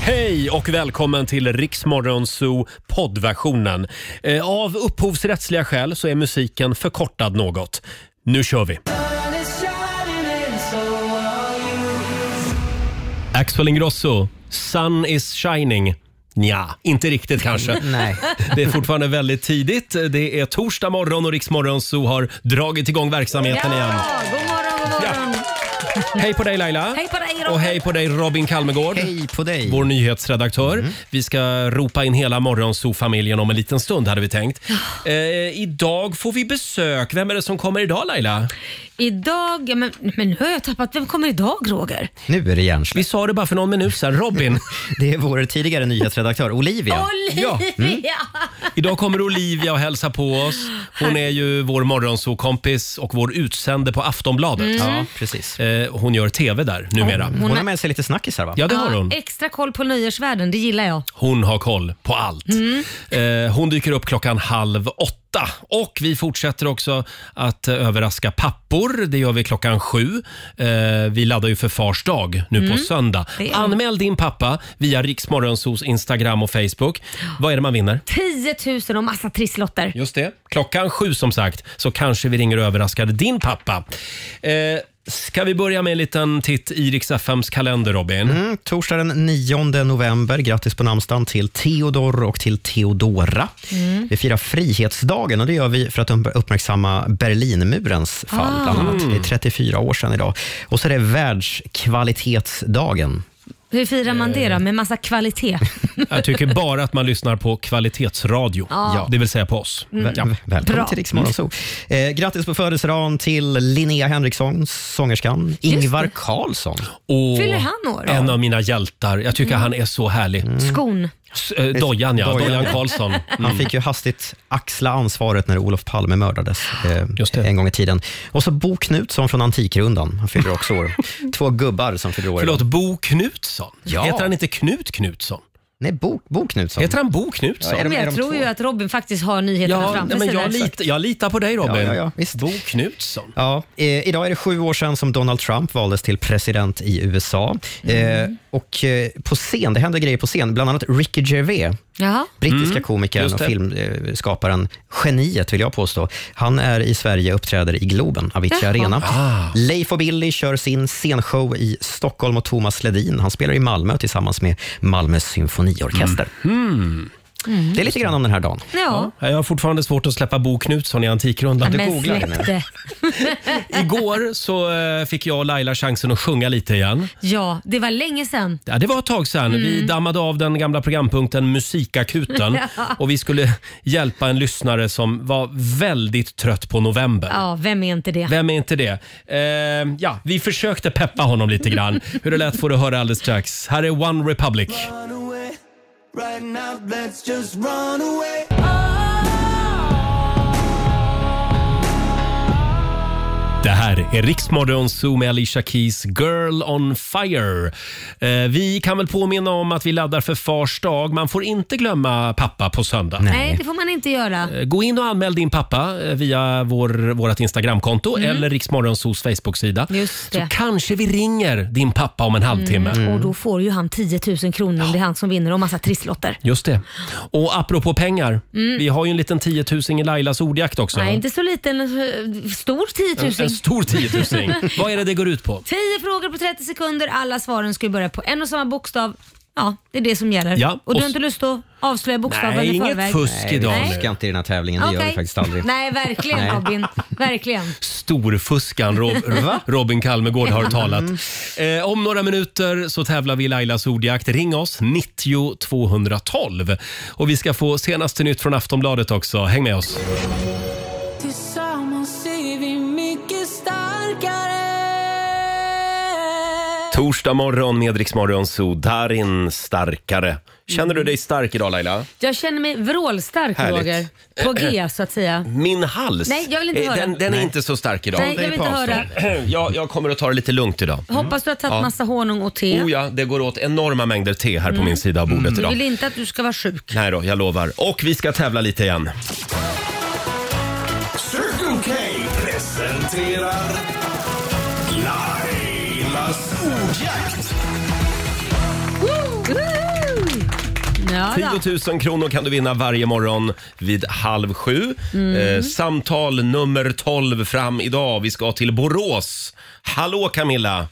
Hej och välkommen till Riksmorgon Zoo poddversionen. Eh, Av upphovsrättsliga skäl så är musiken förkortad något. Nu kör vi! Axel Ingrosso, Sun is shining. Nja, inte riktigt kanske. Nej. Det är fortfarande väldigt tidigt. Det är torsdag morgon och Riksmorgon Zoo har dragit igång verksamheten igen. god morgon, god morgon. Hej på dig Laila! Hej på dig, Robert. Och hej på dig Robin Kalmegård. Hej på dig. Mm. Vår nyhetsredaktör. Vi ska ropa in hela morgonsoffamiljen om en liten stund hade vi tänkt. Eh, idag får vi besök. Vem är det som kommer idag Laila? Idag, ja, men, men nu har jag tappat, vem kommer idag Roger? Nu är det hjärnsläpp. Vi sa det bara för någon minut sedan. Robin. Det är vår tidigare nyhetsredaktör Olivia. Olivia! Mm. idag kommer Olivia och hälsa på oss. Hon är ju vår morgonsokompis och vår utsände på Aftonbladet. Mm. Ja, precis. Eh, hon gör TV där numera. Hon har med sig lite snackisar va? Ja, det har hon. Extra koll på nyårsvärden, det gillar jag. Hon har koll på allt. Mm. Eh, hon dyker upp klockan halv åtta. Och vi fortsätter också att eh, överraska pappor. Det gör vi klockan sju. Eh, vi laddar ju för fars dag nu på söndag. Mm. Det är- Anmäl din pappa via Riksmorgonsos Instagram och Facebook. Vad är det man vinner? 10 000 och massa trisslotter. Just det. Klockan sju som sagt så kanske vi ringer och överraskar din pappa. Eh, ska vi börja med en liten titt i Rix FMs kalender, Robin? Mm, torsdag den 9 november. Grattis på namnsdagen till Theodor och till Theodora. Mm. Vi firar frihetsdagen och det gör vi för att uppmärksamma Berlinmurens fall. Bland annat. Det är 34 år sedan idag. Och så är det världskvalitetsdagen. Hur firar man det då? Med massa kvalitet? Jag tycker bara att man lyssnar på kvalitetsradio. Ja. Mm. Det vill säga på oss. Ja. Väl- Välkommen Bra. till Rix Morgon Zoo. Eh, grattis på födelsedagen till Linnea Henriksson, sångerskan. Ingvar Carlsson. Och Fyller han år? Mm. En av mina hjältar. Jag tycker han är så härlig. Skon. S- eh, Dojan, ja. Mm. Dojan. Dojan Karlsson. Mm. Han fick ju hastigt axla ansvaret när Olof Palme mördades eh, Just det. en gång i tiden. Och så Bo Knutsson från Antikrundan. Han fyller också år. Två gubbar som fyller år. Förlåt, Bo Knutsson? Ja. Heter han inte Knut Knutsson? Nej, Bo, Bo Knutsson. Heter han Bo Knutsson? Ja, är de- Men är jag de tror två? ju att Robin faktiskt har nyheterna nej, framför men sig. jag, där. lit, jag litar på dig Robin. Ja, ja, ja, visst. Bo Knutsson. Ja, eh, idag är det sju år sedan som Donald Trump valdes till president i USA. Mm. Eh, och eh, på scen, det händer grejer på scen, bland annat Ricky Gervais Jaha. Brittiska komikern Mm. just och det. filmskaparen, geniet vill jag påstå. Han är i Sverige uppträder i Globen, Avicii Jaha. Arena. Ah. Leif och Billy kör sin scenshow i Stockholm och Thomas Ledin, han spelar i Malmö tillsammans med Malmö symfoniorkester. Mhm. Det är lite grann om den här dagen. Ja. Jag har fortfarande svårt att släppa Bo Knutsson i Antikrundan. du Men googlar det nu. släpp det. Igår så eh, fick jag och Laila chansen att sjunga lite igen. Ja, det var länge sedan. Ja, det var ett tag sedan. Vi Mm. dammade av den gamla programpunkten Musikakuten och vi skulle hjälpa en lyssnare som var väldigt trött på november. Ja, vem är inte det? Vem är inte det? Eh, ja, vi försökte peppa honom lite grann. Hur det lät får du höra alldeles strax. Här är One Republic. Det här är Riksmorgon Zoo med Alicia Keys Girl on Fire. Eh, vi kan väl påminna om att vi laddar för Fars dag. Man får inte glömma pappa på söndag. Nej, det får man inte göra. Eh, Gå in och anmäl din pappa eh, via vår, vårt Instagramkonto eller Riksmorgonsos Facebook-sida. Mm. Just Så det. Mm. kanske vi ringer din pappa om en halvtimme. Och då får ju han 10 000 kronor om det är han som vinner och massa trisslotter. Just det. Och apropå pengar, vi har ju en liten 10 000 i Lailas ordjakt också. Mm. Nej, inte så liten. eh, Stor 10 000. En stor 10 000. Vad är det det går ut på? 10 frågor på 30 sekunder. Alla svaren ska ju börja på en och samma bokstav. Ja, det är det som gäller. Ja, och du och- har inte lust att avslöja bokstaven Nej, i inget förväg? fusk idag Nej. nu. Ska inte i den här tävlingen, det gör vi Okej. faktiskt aldrig. Nej, verkligen Nej. Robin. Verkligen. Storfuskan Rob Robin Kalmegård har talat. Eh, om några minuter så tävlar vi i Lailas ordjakt. Ring oss, 90 212. Och vi ska få senaste nytt från Aftonbladet också. Häng med oss. Tillsammans är vi mycket starkare Torsdag morgon med Rix Morgon Zoo. Darin starkare. Känner du dig stark idag Laila? Jag känner mig vrålstark Härligt. Eh, Mm. Roger. På G så att säga. Min hals, Nej, jag vill inte eh, höra. den, den är inte så stark idag. Nej, jag vill inte höra. Jag, jag kommer att ta det lite lugnt idag. Hoppas du har tagit massa honung och te. Oh ja, det går åt enorma mängder te här på min sida av bordet Du idag. vill inte att du ska vara sjuk. Nej då, jag lovar. Och vi ska tävla lite igen. Circle K presenterar Lailas ordjakt. Woo! Ja, då. 10 000 kronor kan du vinna varje morgon vid halv sju. Mm. Eh, samtal nummer 12 fram idag. Vi ska till Borås. Hallå Camilla!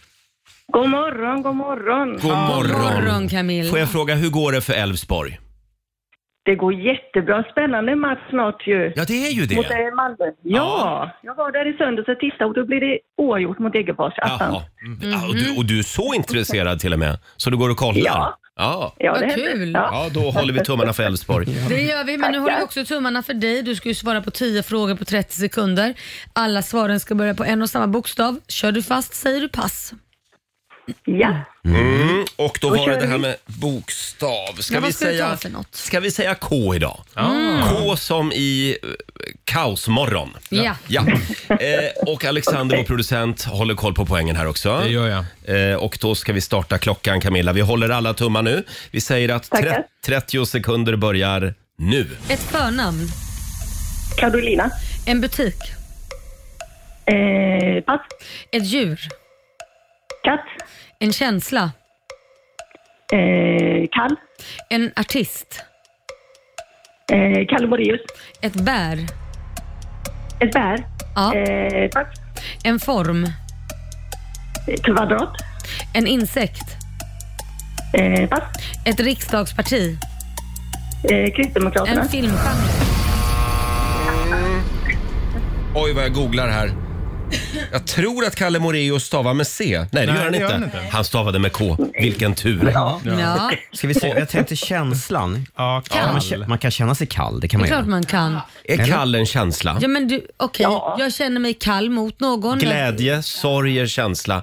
God morgon, god morgon. God morgon! morgon, Camilla. Får jag fråga, hur går det för Elfsborg? Det går jättebra. Spännande match snart ju. Ja, det är ju Mot det. eh, Malmö. Ja. jag var där i söndags och tittade och då blir det oavgjort mot Degerfors. Jaha. Attans. Ja, och, du, och du är så intresserad till och med, så du går och kollar? Ja. Ja, Ja, Vad det hände. kul. Ja. ja då håller vi tummarna för Elfsborg. Det gör vi, men nu håller vi också tummarna för dig. Du ska ju svara på 10 frågor på 30 sekunder. Alla svaren ska börja på en och samma bokstav. Kör du fast säger du pass. ja. Mm, och då var det kör det här vi. med bokstav. Ska, Ja, vi vad ska du säga, ta för något? Mm. ska vi säga K idag? K som i eh, kaosmorgon. Ja. ja. Eh, och Alexander, vår producent, håller koll på poängen här också. Det gör jag. Eh, och då ska vi starta klockan, Camilla. Vi håller alla tummar nu. Vi säger att tre- Tackar. 30 sekunder börjar nu. Ett förnamn, Carolina. en butik, Eh, pass. ett djur, Katt. en känsla, Eh, Kall. en artist, Eh, Kalle Moraeus. ett bär, Ett bär. ja. Eh, pass. en form, Eh, Kvadrat. en insekt, Eh, pass. ett riksdagsparti, Eh, Kristdemokraterna. en filmgenre. Oj, vad jag googlar här. Jag tror att Kalle Moraeus stavar med C. Nej, det, Nej, gör, han det gör inte. han inte. Han stavade med K. Vilken tur. Ja, Ska vi se, jag tänkte känslan. Ja, Man, kall. kä- man kan känna sig kall, det kan man det är klart göra. man kan. Är kall en känsla? Ja, men du, okej, Ja. jag känner mig kall mot någon. Glädje, sorg är känsla.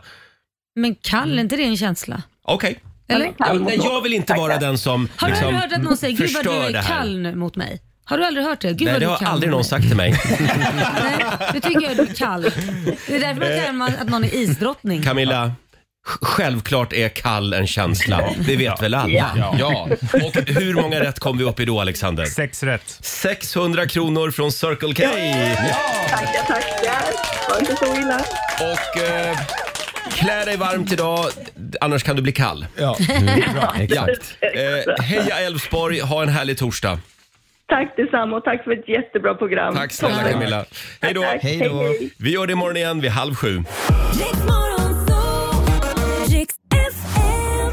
Men kall, är inte det en känsla? Okej. Eller? Jag, nej, jag vill inte vara den som Har du liksom, aldrig hört att någon säger “Gud vad du förstör det är här. kall nu mot mig”? Har du aldrig hört det? Gud Nej, vad det du är har kall aldrig mot någon mig." sagt till mig. Nej, nu tycker jag du är kall. Det är Eh. därför man kallar man att någon är isdrottning. Camilla, sj- självklart är kall en känsla. Det vet väl alla? Ja. Och hur många rätt kom vi upp i då, Alexander? Sex rätt. 600 kronor från Circle K. Tackar, tackar. Var inte så illa. Och eh, klä dig varmt idag, annars kan du bli kall. Mm, Ja. Ja. Exakt. Eh, heja Elfsborg, ha en härlig torsdag. Tack detsamma och tack för ett jättebra program. Tack snälla Camilla. Hej då. Tack. Hej då. Vi gör det imorgon igen vid halv sju. Riks Morgonzoo, Riks FM.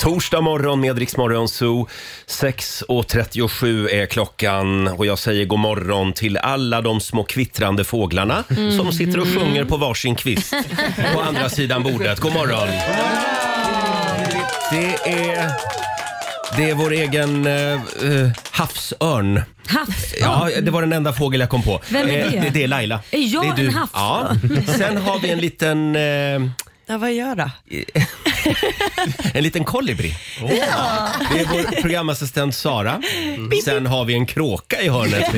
Torsdag morgon med Rix Morgon Zoo. 6.37 är klockan och jag säger god morgon till alla de små kvittrande fåglarna som sitter och sjunger på varsin kvist på andra sidan bordet. God morgon! Det är, det är vår egen eh, eh, havsörn. Havs. Ja, det var den enda fågel jag kom på. Vem är Eh, det? Det, det är Laila. Är jag det en Ja. havsörn? Sen har vi en liten, eh, Ja, vad gör då? en liten kolibri. Det är vår programassistent Mm. Sara. Sen har vi en kråka i hörnet.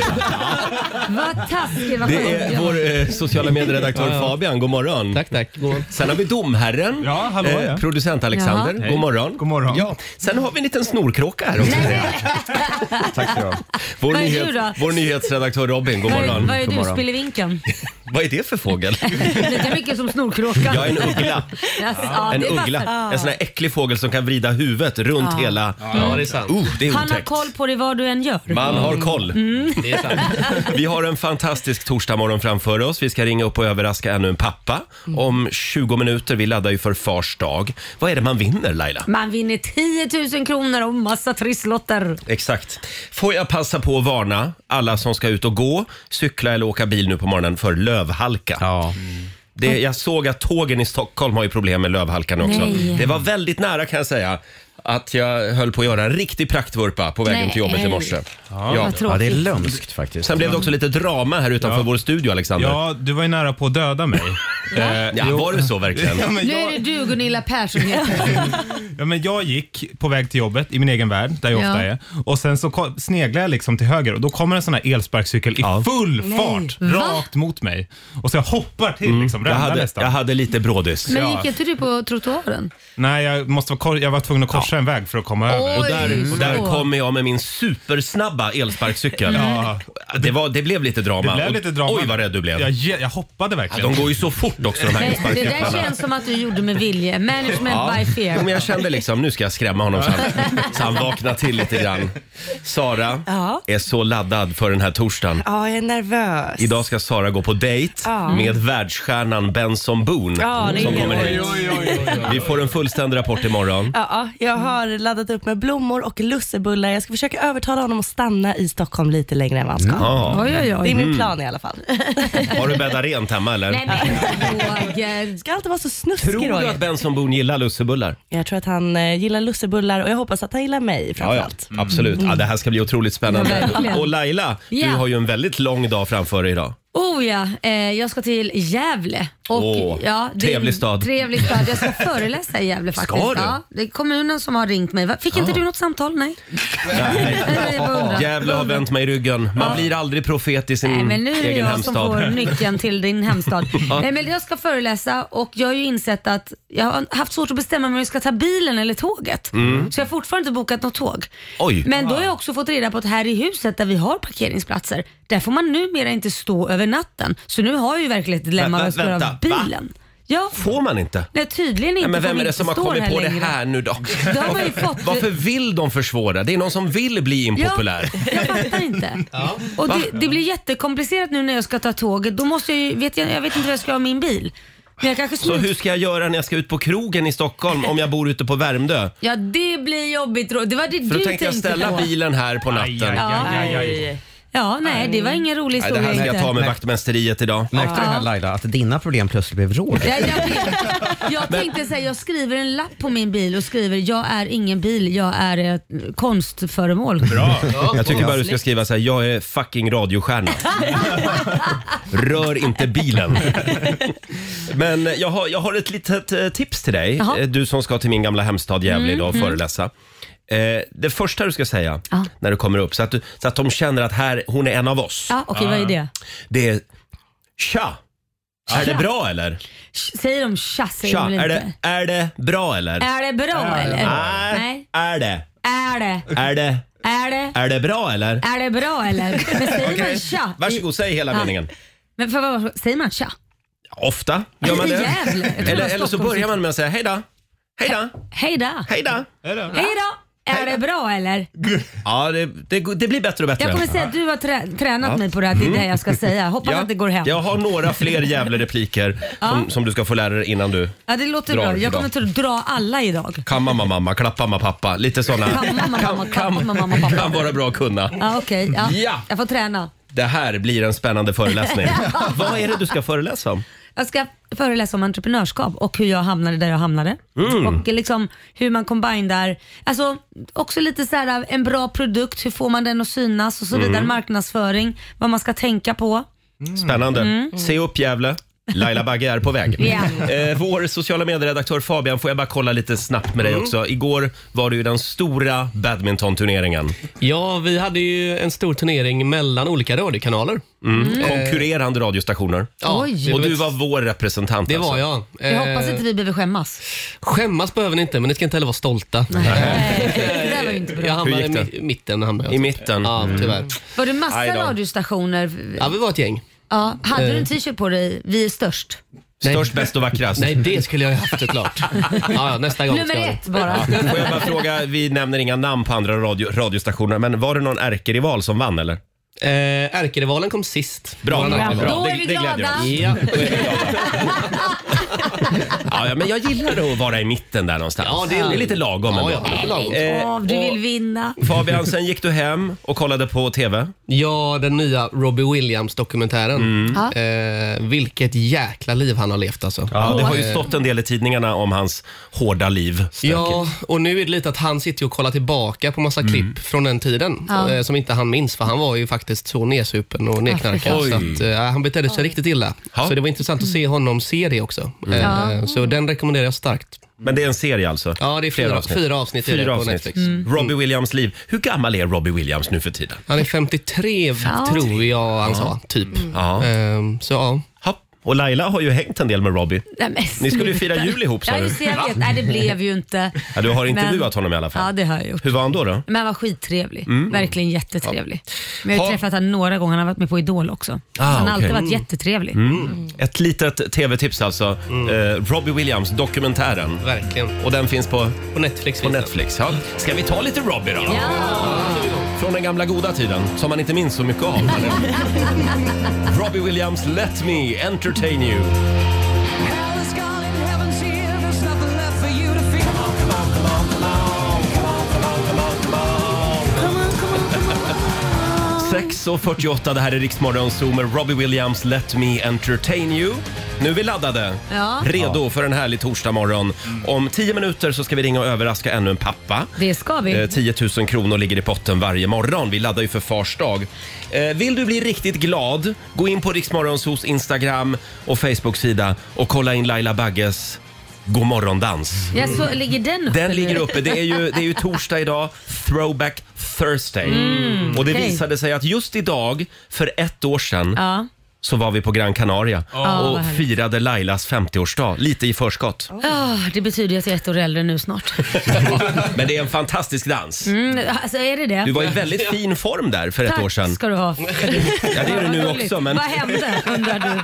Vad taskig, vad Det är sjuk. vår eh, sociala medieredaktör Fabian. God morgon. Tack, tack. God. Sen har vi domherren, Eh, Ja, hallå, ja. producent Alexander. Jaha. God morgon. God morgon. Ja. Sen har vi en liten snorkråka här också. Tack ska du ha. Vår, Vad är du då? vår nyhetsredaktör Robin, god Vad morgon. är, vad är God du, morgon. spillevinken? Vad är det för fågel? Lika mycket som snorkråkan. Jag är en uggla. Alltså, ja, En det passar. uggla. En sån här äcklig fågel som kan vrida huvudet runt hela... Ja, det är sant. Uh, det är Han har otäckt. koll på dig vad du än gör. Mm. Man har koll. Det är sant. Vi har en fantastisk torsdagmorgon framför oss. Vi ska ringa upp och överraska ännu en pappa om 20 minuter. Vi laddar ju för Fars dag. Vad är det man vinner Laila? Man vinner 10 000 kronor och massa trisslotter. Exakt. Får jag passa på att varna alla som ska ut och gå, cykla eller åka bil nu på morgonen för lövhalka. Ja. Det, jag såg att tågen i Stockholm har ju problem med lövhalkan också. Nej. Det var väldigt nära kan jag säga att jag höll på att göra en riktig praktvurpa på vägen Nej. till jobbet i morse. Ja. Vad ja, det är tråkigt. lömskt faktiskt. Sen blev det också lite drama här utanför Ja. vår studio Alexander. Ja. Ja, du var ju nära på att döda mig. Eh, Ja, jo. var det så verkligen? Ja, men Nu är jag, det du Gunilla Persson heter. ja, men jag gick på väg till jobbet i min egen värld, där jag Ja. ofta är. Och Sen så ko- sneglar jag liksom till höger och då kommer en sån här elsparkcykel i full fart Va? rakt mot mig. Och så jag hoppar till, liksom, Mm. Jag ramlar hade, nästan. jag hade lite brådis. Men Ja. gick inte du på trottoaren? Nej, jag, måste vara, kor- jag var tvungen att korsa en väg för att komma över. Och där, Oj, och Mm. där så. kommer jag med min supersnabba elsparkcykel. Ja. Det, var, det blev lite drama. Det blev lite drama. Oj vad rädd du blev. Jag, ge- jag hoppade verkligen. De går ju så fort fort också de här Nej, det där elsparkcyklarna. känns som att du gjorde med vilje. Management by Jo, men fear. jag kände liksom, nu ska jag skrämma honom så han, så han vaknar till lite grann. Sara Ja. är så laddad för den här torsdagen. Ja, jag är nervös. Idag ska Sara gå på dejt Ja. med världsstjärnan Benson Boone Ja, det är som helt kommer hit. sjukt. Vi får en fullständig rapport imorgon. Ja, ja, jag Mm. har laddat upp med blommor och lussebullar. Jag ska försöka övertala honom att stanna i Stockholm lite längre än vad han ska. Ja. Mm. Oj, oj, Det är oj. min plan i alla fall. Har du bäddat rent hemma eller? Nej, men Roger. Ska alltid vara så snuskig Tror du Roger. att Benson Boone gillar lussebullar? Jag tror att han eh, gillar lussebullar och jag hoppas att han gillar mig framförallt. Mm. absolut. Ja, det här ska bli otroligt Ja, spännande. verkligen. och Laila, Ja. du har ju en väldigt lång dag framför dig idag. Oh ja, eh, jag ska till Gävle. Och, Åh, ja, det är en trevlig stad. Trevlig stad. Jag ska föreläsa i Gävle faktiskt. Ska du? Ja, det är kommunen som har ringt mig. Va, Fick inte du något samtal? Nej. Nej, jag bara undrar. Gävle har vänt mig i ryggen. Man blir aldrig profet i sin Nej, men nu är det egen jag hemstad. som får nyckeln till din hemstad. Nej, men jag ska föreläsa och jag har ju insett att jag har haft svårt att bestämma mig om jag ska ta bilen eller tåget. Så jag har fortfarande inte bokat något tåg. Mm. Oj. Ah. Men då har jag också fått reda på att här i huset där vi har parkeringsplatser, där får man numera inte stå över natten. Så nu har jag ju verkligen ett dilemma Vä- vä- vad jag ska göra av vänta, va? bilen. Ja, Får man inte? nej, tydligen inte. Ja, men får vem vi är det inte som har stå kommit på det längre. här nu då? Det har man ju fått. Varför vill de försvåra? Det är någon som vill bli impopulär. Ja, jag fattar inte. Och det, det blir jättekomplicerat nu när jag ska ta tåget. Då måste jag ju, vet jag, jag vet inte vad jag ska ha min bil. Men jag kanske Så smyg- hur ska jag göra när jag ska ut på krogen i Stockholm om jag bor ute på Värmdö? Ja, det blir jobbigt. Ro- Det var det För du då tänkte tänkte jag ställa på. bilen här på Aj, aj, natten. aj, aj, aj. Aj. Ja, nej, det var ingen rolig Nej, det historia. här ska jag inte. ta med vaktmästeriet idag. Märkte du här Laila, att dina problem plötsligt blev Roger? Ja, jag, vet. jag tänkte säga, jag skriver en lapp på min bil och skriver jag är ingen bil, jag är ett konstföremål. Bra. Jag tycker bara du ska skriva så här, jag är fucking radiostjärna. Rör inte bilen. Men jag har, jag har ett litet eh, tips till dig, Jaha. Mm, Eh, du som ska till min gamla hemstad Gävle idag och föreläsa. Eh, Det första du ska säga Ja. när du kommer upp, så att, du, så att de känner att här, hon är en av oss, Ah. Ja, Okej, vad är det? det är Tja! Är det bra eller? Sh- Säger de tja? Säger Tja, de väl är inte? det, är det bra eller? är det bra eller? Nej. Nej. Är det? Är det? Är det? Är det? Är det bra eller? Är det bra eller? Men säger man tja? Varsågod, säg hela Ja. meningen. Men för vad, säger man tja? Ofta gör man det. Jävlar, jag tror det eller, var eller så Stockholm. börjar man med att säga hej då. Hej då. Hej då. Hej då. Hej då. Är det bra eller? Ja, det, det, det blir bättre och bättre. Jag kommer säga att du har trä- tränat mig på det här, det är det jag ska säga. Hoppas Mm. Ja, att det går hem. Jag har några fler Gävle-repliker som, som du ska få lära dig innan du Ja, det låter Drar bra. Jag idag. kommer inte att dra alla idag. kammar mamma, mamma, klappar mamma, pappa. Lite sådana. Kamma mamma, mamma, kamma mamma, pappa. kan vara bra att kunna. Ja, okej. Ja. Ja. Jag får träna. Det här blir en spännande föreläsning. Vad är det du ska föreläsa om? Jag ska föreläsa om entreprenörskap och hur jag hamnade där jag hamnade. Mm. Och liksom hur man combinerar, alltså också lite så här en bra produkt, hur får man den att synas och så Mm. vidare. Marknadsföring, vad man ska tänka på. Spännande. Mm. Se upp Gävle. Laila Bagge är på väg. Mm. Ja. Eh, vår sociala medieredaktör Fabian, får jag bara kolla lite snabbt med dig Mm. också. Igår var det ju den stora badmintonturneringen. Ja, vi hade ju en stor turnering mellan olika radiokanaler. Mm. Eh, Konkurrerande radiostationer. Ja, Oj. det Och var- du var vår representant. Det alltså. var jag. Jag Eh, hoppas inte vi behöver skämmas. Skämmas behöver ni inte, men ni ska inte heller vara stolta. Eh, Nej, det där var ju inte Jag bra. hamnade Hur i gick det? mi- i mitten. Hamnade jag. alltså. I mitten. Ja, tyvärr. Var det Aj massa då. Eh. radiostationer? Ja, vi var ett gäng. Ja, hade du en t-shirt på dig, vi är störst? Nej. Störst, bäst och vackrast. Nej, det skulle jag ju haft såklart. Ja, ja, nästa gång Nummer ska jag- ett bara. Får jag bara fråga, vi nämner inga namn på andra radio, radiostationer, men var det någon ärkerival som vann eller? Eh, Ärkerivalen kom sist. Bra, Våran bra, ärkerival. bra. Då är Det- vi det gläder glada. oss. Ja. Ja, ja, men jag gillar att vara i mitten där någonstans. Ja, det, det är, är- lite lagom Ja, ändå. Eh, ja, det är lagom. Åh, du vill vinna. Fabian, sen gick du hem och kollade på TV. Ja, den nya Robbie Williams-dokumentären. Mm. Eh, vilket jäkla liv han har levt alltså. Ja, det har Eh. ju stått en del i tidningarna om hans hårda liv. Ja, och nu är det lite att han sitter ju och kollar tillbaka på Mm. massa klipp från den tiden Ja. eh, som inte han minns, för han var ju faktiskt så nedsupen och nedknarkad. Oj. så att, eh, han betedde sig riktigt illa. Ja. Så det var intressant att se honom se det också. Mm. Eh, Så den rekommenderar jag starkt. Men det är en serie alltså? Ja, det är Flera fyra, avsnitt. fyra avsnitt är det Fyra på avsnitt. Netflix. Mm. Robbie Williams liv. Hur gammal är Robbie Williams nu för tiden? Mm. Han är 53, tror jag han sa, typ. Ja. Eh, Så ja. Hopp. Och Laila har ju hängt en del med Robbie. Nej, men Ni skulle ju sluta. fira jul ihop, sa Ja, du. just det, jag vet. Nej, det blev ju inte. Ja, du har intervjuat honom i alla fall. Ja, det har jag gjort. Hur var han då? då? Men han var skittrevlig. Verkligen jättetrevlig. Men jag Mm. Ha- har ju träffat honom några gånger. Han har varit med på Idol också. Ah, han har alltid okej. Mm. varit jättetrevlig. Ett litet tv-tips alltså. Eh, Robbie Williams, dokumentären. Mm. Verkligen. Och den finns på, På Netflix. på finns den. Netflix. Ja. Ska vi ta lite Robbie då? Ja. Från den gamla goda tiden, som man inte minns så mycket av. Robbie Williams, Let Me Entertain You. Sex och 48, det här är Riksmorgon Zoo med Robbie Williams, Let Me Entertain You. Nu är vi laddade, Ja. redo för en härlig torsdagmorgon. Om tio minuter så ska vi ringa och överraska ännu en pappa. Det ska vi. Eh, 10 000 kronor ligger i potten varje morgon. Vi laddar ju för fars dag. Eh, Vill du bli riktigt glad, gå in på Riksmorgonsos Instagram och Facebook-sida och kolla in Laila Bagges God morgon-dans. Ja, så ligger den uppe Den nu? ligger uppe. Det är, ju, det är ju torsdag idag, throwback Thursday. och det Mm, okej. visade sig att just idag, för ett år sedan, Ja. så var vi på Gran Canaria vad och härligt. firade Lailas 50-årsdag, lite i förskott. Ah, det betyder ju att jag är ett år äldre nu snart. Men det är en fantastisk dans. Mm, alltså, är det det? Du var i väldigt fin form där för ett Tack år sedan. ska du ha. Ja, det är du nu Vad roligt. också, men Vad hände undrar du?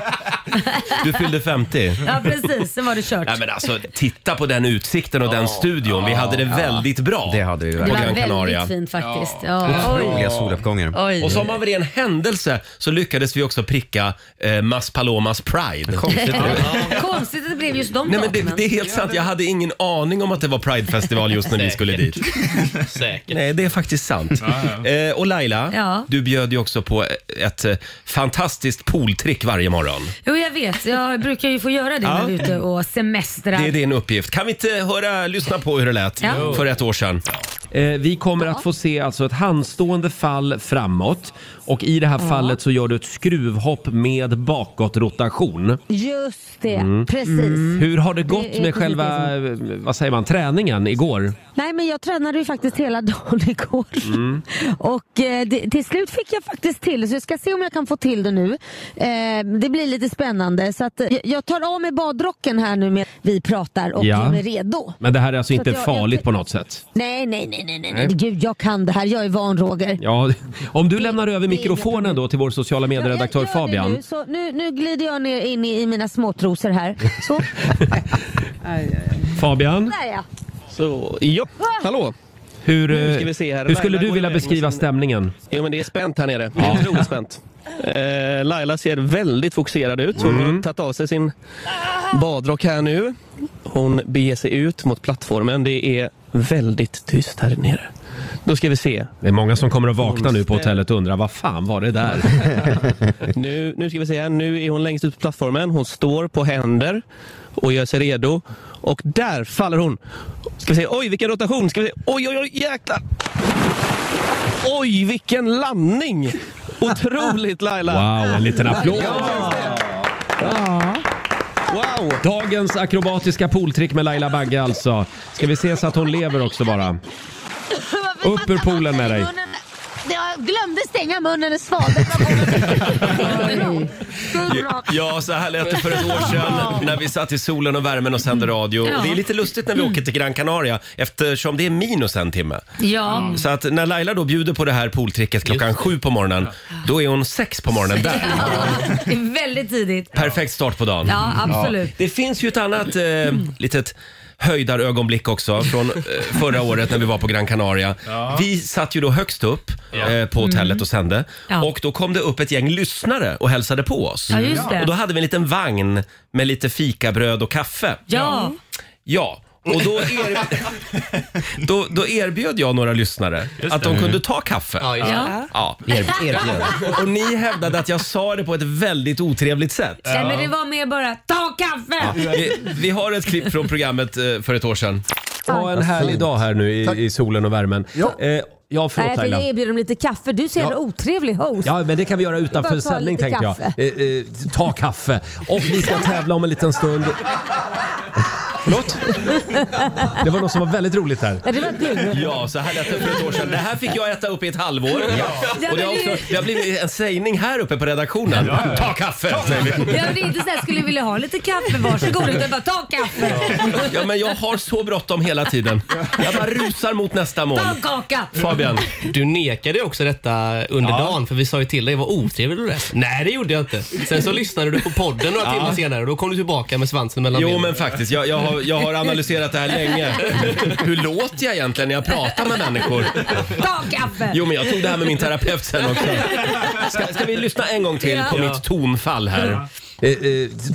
du fyllde 50. Ja precis, sen var det kört. Nej, men alltså, titta på den utsikten och den studion. Vi hade det väldigt bra Det hade vi på det var Gran Canaria. väldigt fint faktiskt. Ja. Otroliga soluppgångar. Oj. Och som av en ren händelse så lyckades vi också pricka eh, Mas Palomas Pride. Eh, Konstigt att det blev just de Nej, men det, datumen. det är helt sant. Jag hade ingen aning om att det var Pridefestival just när vi skulle dit. Säkert. Nej, det är faktiskt sant. Eh, och Laila, Ja. du bjöd ju också på ett eh, fantastiskt pooltrick varje morgon. Jo jag vet, jag brukar ju få göra det när vi är ute och semestrar. Det är din uppgift. Kan vi inte höra, lyssna på hur det lät Ja. för ett år sedan? Eh, vi kommer att få se alltså ett handstående fall framåt och i det här fallet så gör du ett skruvhopp med bakåtrotation. Just det, precis. Mm. Hur har det gått Det är med precis själva, eh, vad säger man, träningen igår? Nej men jag tränade ju faktiskt hela dagen igår. Mm. Och eh, det, till slut fick jag faktiskt till det, så jag ska se om jag kan få till det nu. Eh, det blir lite spännande. Så att, eh, jag- jag tar av mig badrocken här nu med vi pratar och Ja. är mig redo. Men det här är alltså inte att jag- farligt jag- på något sätt? Nej, nej, nej, nej, nej, nej. Gud, jag kan det här. Jag är van, Roger. Ja, om du lämnar över det är inga mikrofonen då till vår sociala Ja, jag medredaktör gör det Fabian. Nu, så nu, nu glider jag ner in i, i mina småtrosor här. Så, Fabian, där ja. Så, ja. Hallå. hur, eh, ska vi se här. hur skulle Laila du går vilja iväg med beskriva sin- stämningen? Ja, men det är spänt här nere. Det är otroligt spänt. Eh, Laila ser väldigt fokuserad ut. Hon Mm. har tagit av sig sin badrock här nu. Hon beger sig ut mot plattformen. Det är väldigt tyst här nere. Då ska vi se. Det är många som kommer att vakna nu på hotellet och undra vad fan var det där? Nu, nu ska vi se här. Nu är hon längst ut på plattformen. Hon står på händer och gör sig redo. Och där faller hon. Ska vi se. Oj, vilken rotation. Ska vi se. Oj, oj, oj, jäklar. Oj, vilken landning. Otroligt Laila. Wow, en liten applåd! Wow! Dagens akrobatiska pooltrick med Laila Bagge alltså. Ska vi se så att hon lever också bara. Upp ur poolen med dig. Jag glömde stänga munnen och svalde. Ja, så här lät det för ett år sedan när vi satt i solen och värmen och sände radio. Och det är lite lustigt när vi åker till Gran Canaria eftersom det är minus en timme. Ja. Så att när Laila då bjuder på det här pooltricket klockan sju på morgonen, då är hon sex på morgonen där. Det är väldigt tidigt. Perfekt start på dagen. Ja, absolut. Det finns ju ett annat eh, litet höjdarögonblick också från eh, förra året när vi var på Gran Canaria. Vi satt ju då högst upp eh, på hotellet och sände Ja. och då kom det upp ett gäng lyssnare och hälsade på oss. Ja, just det. Och då hade vi en liten vagn med lite fikabröd och kaffe. Ja, Ja, och då, er... då, då erbjöd jag några lyssnare att de kunde ta kaffe. Mm. Ja, just det. ja. Ja. Erbjöd. Och ni hävdade att jag sa det på ett väldigt otrevligt sätt. Nej, men det var mer bara ta kaffe! Vi, vi har ett klipp från programmet eh, för ett år sedan. Ha en härlig dag här nu i, i solen och värmen. Ja, eh, ja förlåt Nej, för Laila. jag erbjuder dem lite kaffe. Du ser en otrevlig host. Ja, men det kan vi göra utanför Bara ta sändning lite tänkte jag. kaffe. Eh, eh, ta kaffe. Och vi ska tävla om en liten stund. Förlåt? Det var något som var väldigt roligt här. Ja, det var du. Ja, så här lät det för ett år sedan. Det här fick jag äta upp i ett halvår. Ja. Och det har, också, det har blivit en sägning här uppe på redaktionen. Ta kaffe! säger vi. Ja, men det är inte så här, skulle vilja ha lite kaffe, varsågod. Utan bara ta kaffe, Ja, men jag har så bråttom hela tiden. Jag bara rusar mot nästa mål. ta en kaka. Fabian. Du nekade ju också detta under dagen för vi sa ju till dig vad otrevlig du lät. Nej, det gjorde jag inte. Sen så lyssnade du på podden några Ja. timmar senare och då kom du tillbaka med svansen mellan Jo benen. men faktiskt, jag, jag, har, jag har analyserat det här länge. Hur låter jag egentligen när jag pratar med människor? Ta kaffe. Jo men jag tog det här med min terapeut sen också. Ska, ska vi lyssna en gång till på Ja. mitt tonfall här? Eh, eh,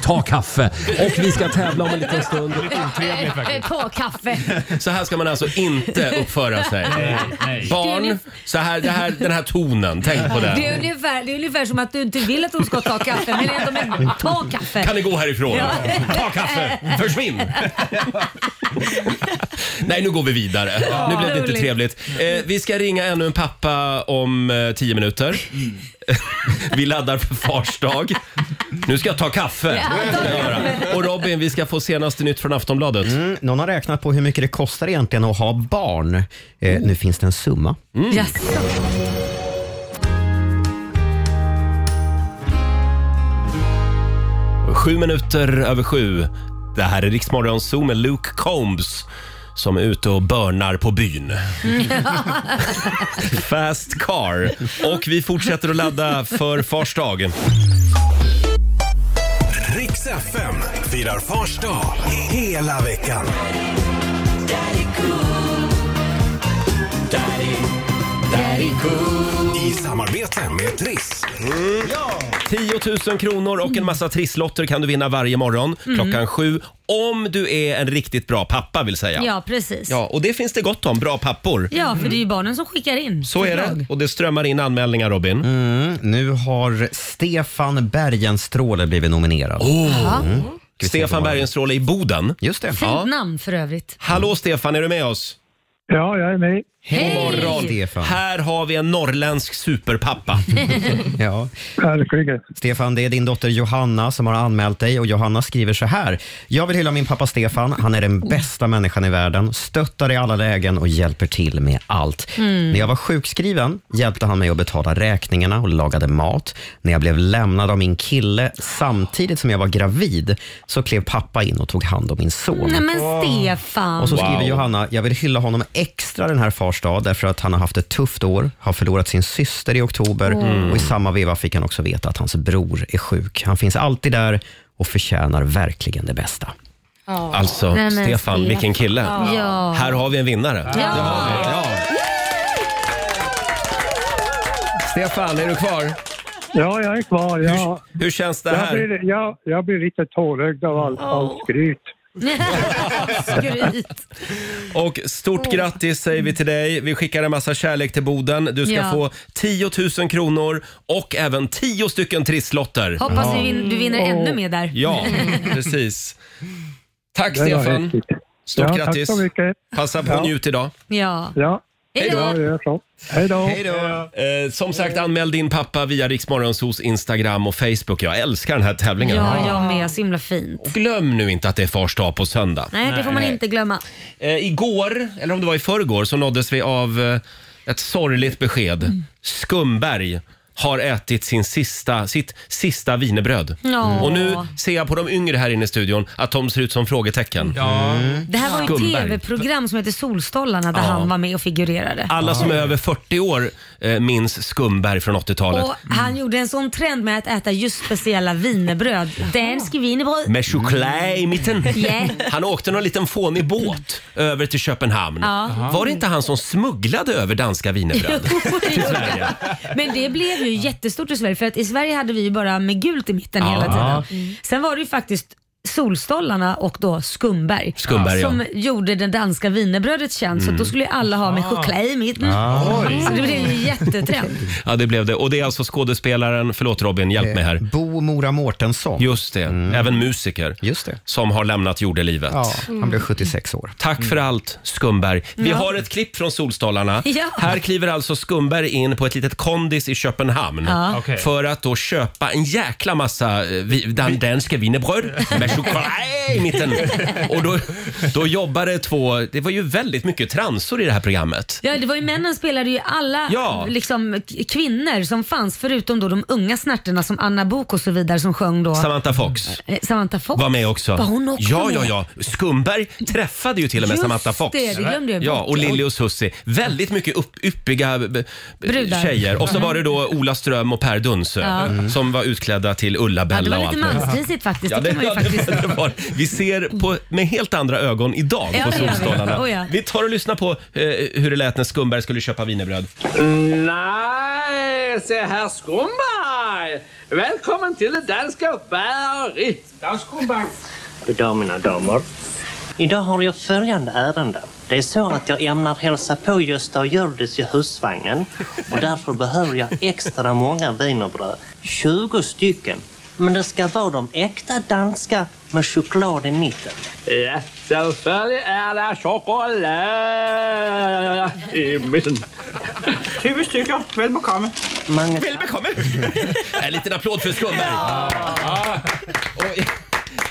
ta kaffe och vi ska tävla om en liten stund. Ta kaffe. Så här ska man alltså inte uppföra sig. Nej, nej. Det är Barn, ungef- så här, det här, den här tonen, tänk på Det är, det. ungefär, det är ungefär som att du inte vill att hon ska ta kaffe, men ändå men ta kaffe. Kan ni gå härifrån? Ja. Ta kaffe! Försvinn! Nej, nu går vi vidare. Nu blev det inte trevligt. Eh, vi ska ringa ännu en pappa om eh, tio minuter. Mm. vi laddar för fars dag. Nu ska jag ta kaffe. Ja, ta Ska jag göra. Och Robin, vi ska få senaste nytt från Aftonbladet. Mm, någon har räknat på hur mycket det kostar egentligen att ha barn. Eh, nu finns det en summa. Mm, Jaså? Sju minuter över sju. Det här är Riksmorgon Zoo med Luke Combs som är ute och börnar på byn. Fast Car. Och vi fortsätter att ladda för Fars dag. Riks FM firar Fars dag hela veckan. I samarbete med Triss. 10 000 kronor och en massa trisslotter kan du vinna varje morgon Mm. klockan sju. Om du är en riktigt bra pappa vill säga. Ja, precis. Ja, och det finns det gott om, bra pappor. Ja, för det är ju barnen som skickar in. Så är det och det strömmar in anmälningar Robin. Mm, nu har Stefan Bergenstråle blivit nominerad. Mm. Ja. Oh. Stefan Bergenstråle i Boden. Just det. Fint namn för övrigt. Hallå Stefan, är du med oss? Ja, jag är med. Hej! Hej! morgon. Stefan. Här har vi en norrländsk superpappa. Ja. Stefan, det är din dotter Johanna som har anmält dig och Johanna skriver så här. Jag vill hylla min pappa Stefan. Han är Mm. den bästa människan i världen, stöttar i alla lägen och hjälper till med allt. Mm. När jag var sjukskriven hjälpte han mig att betala räkningarna och lagade mat. När jag blev lämnad av min kille samtidigt som jag var gravid så klev pappa in och tog hand om min son. Nej men Stefan. Och så skriver Johanna, jag vill hylla honom extra den här fars dag därför att han har haft ett tufft år, har förlorat sin syster i oktober Mm. och i samma veva fick han också veta att hans bror är sjuk. Han finns alltid där och förtjänar verkligen det bästa. Alltså, Nej, men Stefan, Stefan. vilken kille. Ja. Här har vi en vinnare. Ja. Det har vi. Ja. Stefan, är du kvar? Ja, jag är kvar. Jag, Hur känns det jag, här? blir, jag, jag blir lite tårögd av allt all skryt. Och stort grattis säger vi till dig. Vi skickar en massa kärlek till Boden. Du ska Ja. få 10 000 kronor och även 10 stycken trisslotter. Hoppas du, vin- du vinner ännu mer där. Ja, precis. Tack Det var Stefan. häftigt. Stort Ja, tack grattis. så mycket. Passa på och Ja. njut idag. Ja. Ja. Hej då. Ja, jag gör så. Hej då. Eh, som sagt, anmäl din pappa via Riksmorgonsos Instagram och Facebook. Jag älskar den här tävlingen. Ja, jag med. Så himla fint. Och Glöm nu inte att det är fars dag på söndag. Nej, det får man inte glömma. Eh, igår, eller om det var i förrgår, så nåddes vi av eh, ett sorgligt besked. Mm. Skumberg har ätit sin sista, sitt sista wienerbröd. Ja. Och nu ser jag på de yngre här inne i studion att de ser ut som frågetecken. Mm. Det här var ju ett Skumberg. tv-program som heter Solstollarna där Ja. han var med och figurerade. Alla som är över 40 år eh, minns Skumberg från 80-talet. Och han gjorde en sån trend med att äta just speciella wienerbröd. Dansk wienerbröd. Med choklad i mitten. Yeah. Han åkte någon liten fånig båt över till Köpenhamn. Ja. Var det inte han som smugglade över danska wienerbröd? till Sverige? Men det blev ju jättestort i Sverige för att i Sverige hade vi ju bara med gult i mitten Ja. hela tiden. Mm. Sen var det ju faktiskt Solstollarna och då Skumberg, Skumberg, som ja. gjorde det danska wienerbrödet känt. Så Mm. då skulle ju alla ha med choklad i mitten. Ah. Oj. Så det blev ju jättetrend. Ja, det blev det. Och det är alltså skådespelaren, förlåt Robin, hjälp mig här. Eh, Bo Mora Mårtensson. Mm. Just det, även musiker. Just det. Som har lämnat jordelivet. Ja, han blev 76 år. Tack för allt, Skumberg. Vi Mm. Ja. har ett klipp från Solstolarna. Ja. Här kliver alltså Skumberg in på ett litet kondis i Köpenhamn Ja. Okej. för att då köpa en jäkla massa eh, vi- dan- danska wienerbröd med choklad. Nej, i mitten. Och då, då jobbade två, det var ju väldigt mycket transor i det här programmet. Ja, det var ju männen spelade ju alla Ja. liksom, k- kvinnor som fanns förutom då de unga snärtorna som Anna Bok och så vidare som sjöng då. Samantha Fox Eh, Samantha Fox. var med också. Var hon också ja, med? ja, ja. Skumberg träffade ju till och med Just Samantha Fox. det, det glömde jag ja, bort. och Lilly och Susie. Väldigt mycket upp, yppiga b- b- Brudar. tjejer. Och så Mm. var det då Ola Ström och Per Dunsö eh, Ja. Mm. som var utklädda till Ja, det Ulla-Bella var och allt lite möjligt. mansprisigt faktiskt. Ja, det kan man ju ja, faktiskt det var. Vi ser på, med helt andra ögon idag Ja, på det gör vi. Solstolarna. Oh, ja. Vi tar och lyssnar på eh, hur det lät när Skumberg skulle köpa wienerbröd. Nej, se herr Skomberg! Välkommen till det danska uppbäret! Dansk Skomberg! Goddag mina damer. Idag har jag följande ärende. Det är så att jag ämnar hälsa på Gösta och Hjördis i husvagnen och därför behöver jag extra många wienerbröd. 20 stycken. Men det ska vara de äkta danska med choklad i mitten. Ja, selvfølgelig er der chokolade i midten. 20 stykker. Vel bekomme. Mange Välbekomme! en liten applåd för Skumberg. Och,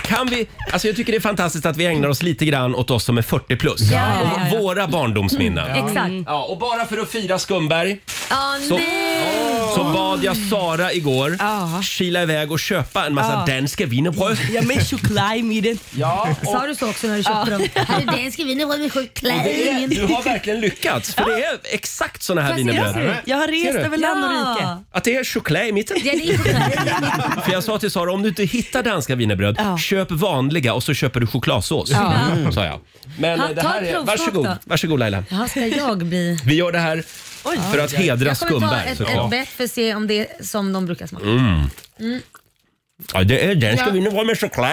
kan vi, alltså jag tycker det är fantastiskt att vi ägnar oss lite grann åt oss som är 40 plus. Ja, ja, ja, ja. Och våra barndomsminnen. Mm, exakt. Ja, och bara för att fira Skumberg Åh, så, nej! så bad jag Sara igår kila iväg och köpa en massa Ja. danska wienerbröd. Ja, med choklad i mitten. Ja, Sa du så också när du köpte Ja. dem? Herre, den ska vi nu vara med choklad Det är, du har verkligen lyckats, för det är exakt såna här wienerbröd. Ser du? Att det är choklad i mitten. Ja, det är choklad. För jag sa till Sara, om du inte hittar danska wienerbröd, Ja. köp vanliga och så köper du chokladsås. Ja. Mm. Sa jag. Men Ha, eh, det ta här ett är, provsmak varsågod, då. varsågod Laila. Jaha, ska jag bli... Vi gör det här för att hedra Jag kommer ta Skumberg. ett, såklart. ett bett för att se om det är som de brukar smaka. Mm. Mm. Ja, det är danska Ja. wienerbröd med choklad.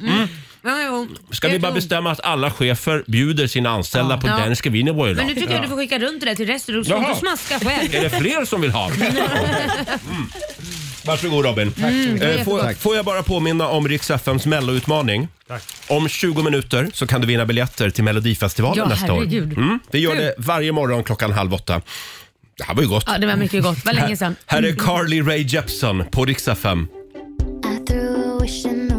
Mm. Ja, jo. Ska vi Jag bara tror- bestämma att alla chefer bjuder sina anställda på Ja. danska wienerbröd idag? Men nu tycker jag du får skicka runt det där till resten. Du ska Jaha. inte smaska själv. Mm. Är det fler som vill ha? Mm. Varsågod Robin. Tack så mycket. Eh, får, Tack. får jag bara påminna om Rix FMs melloutmaning? Om 20 minuter så kan du vinna biljetter till Melodifestivalen Ja, nästa år. herregud. Mm, vi gör Kul. det varje morgon klockan halv åtta. Det här var ju gott. Ja, det var mycket gott. Det var länge sedan. Här är Carly Rae Jepsen på Rix FM. Mm-hmm. Mm.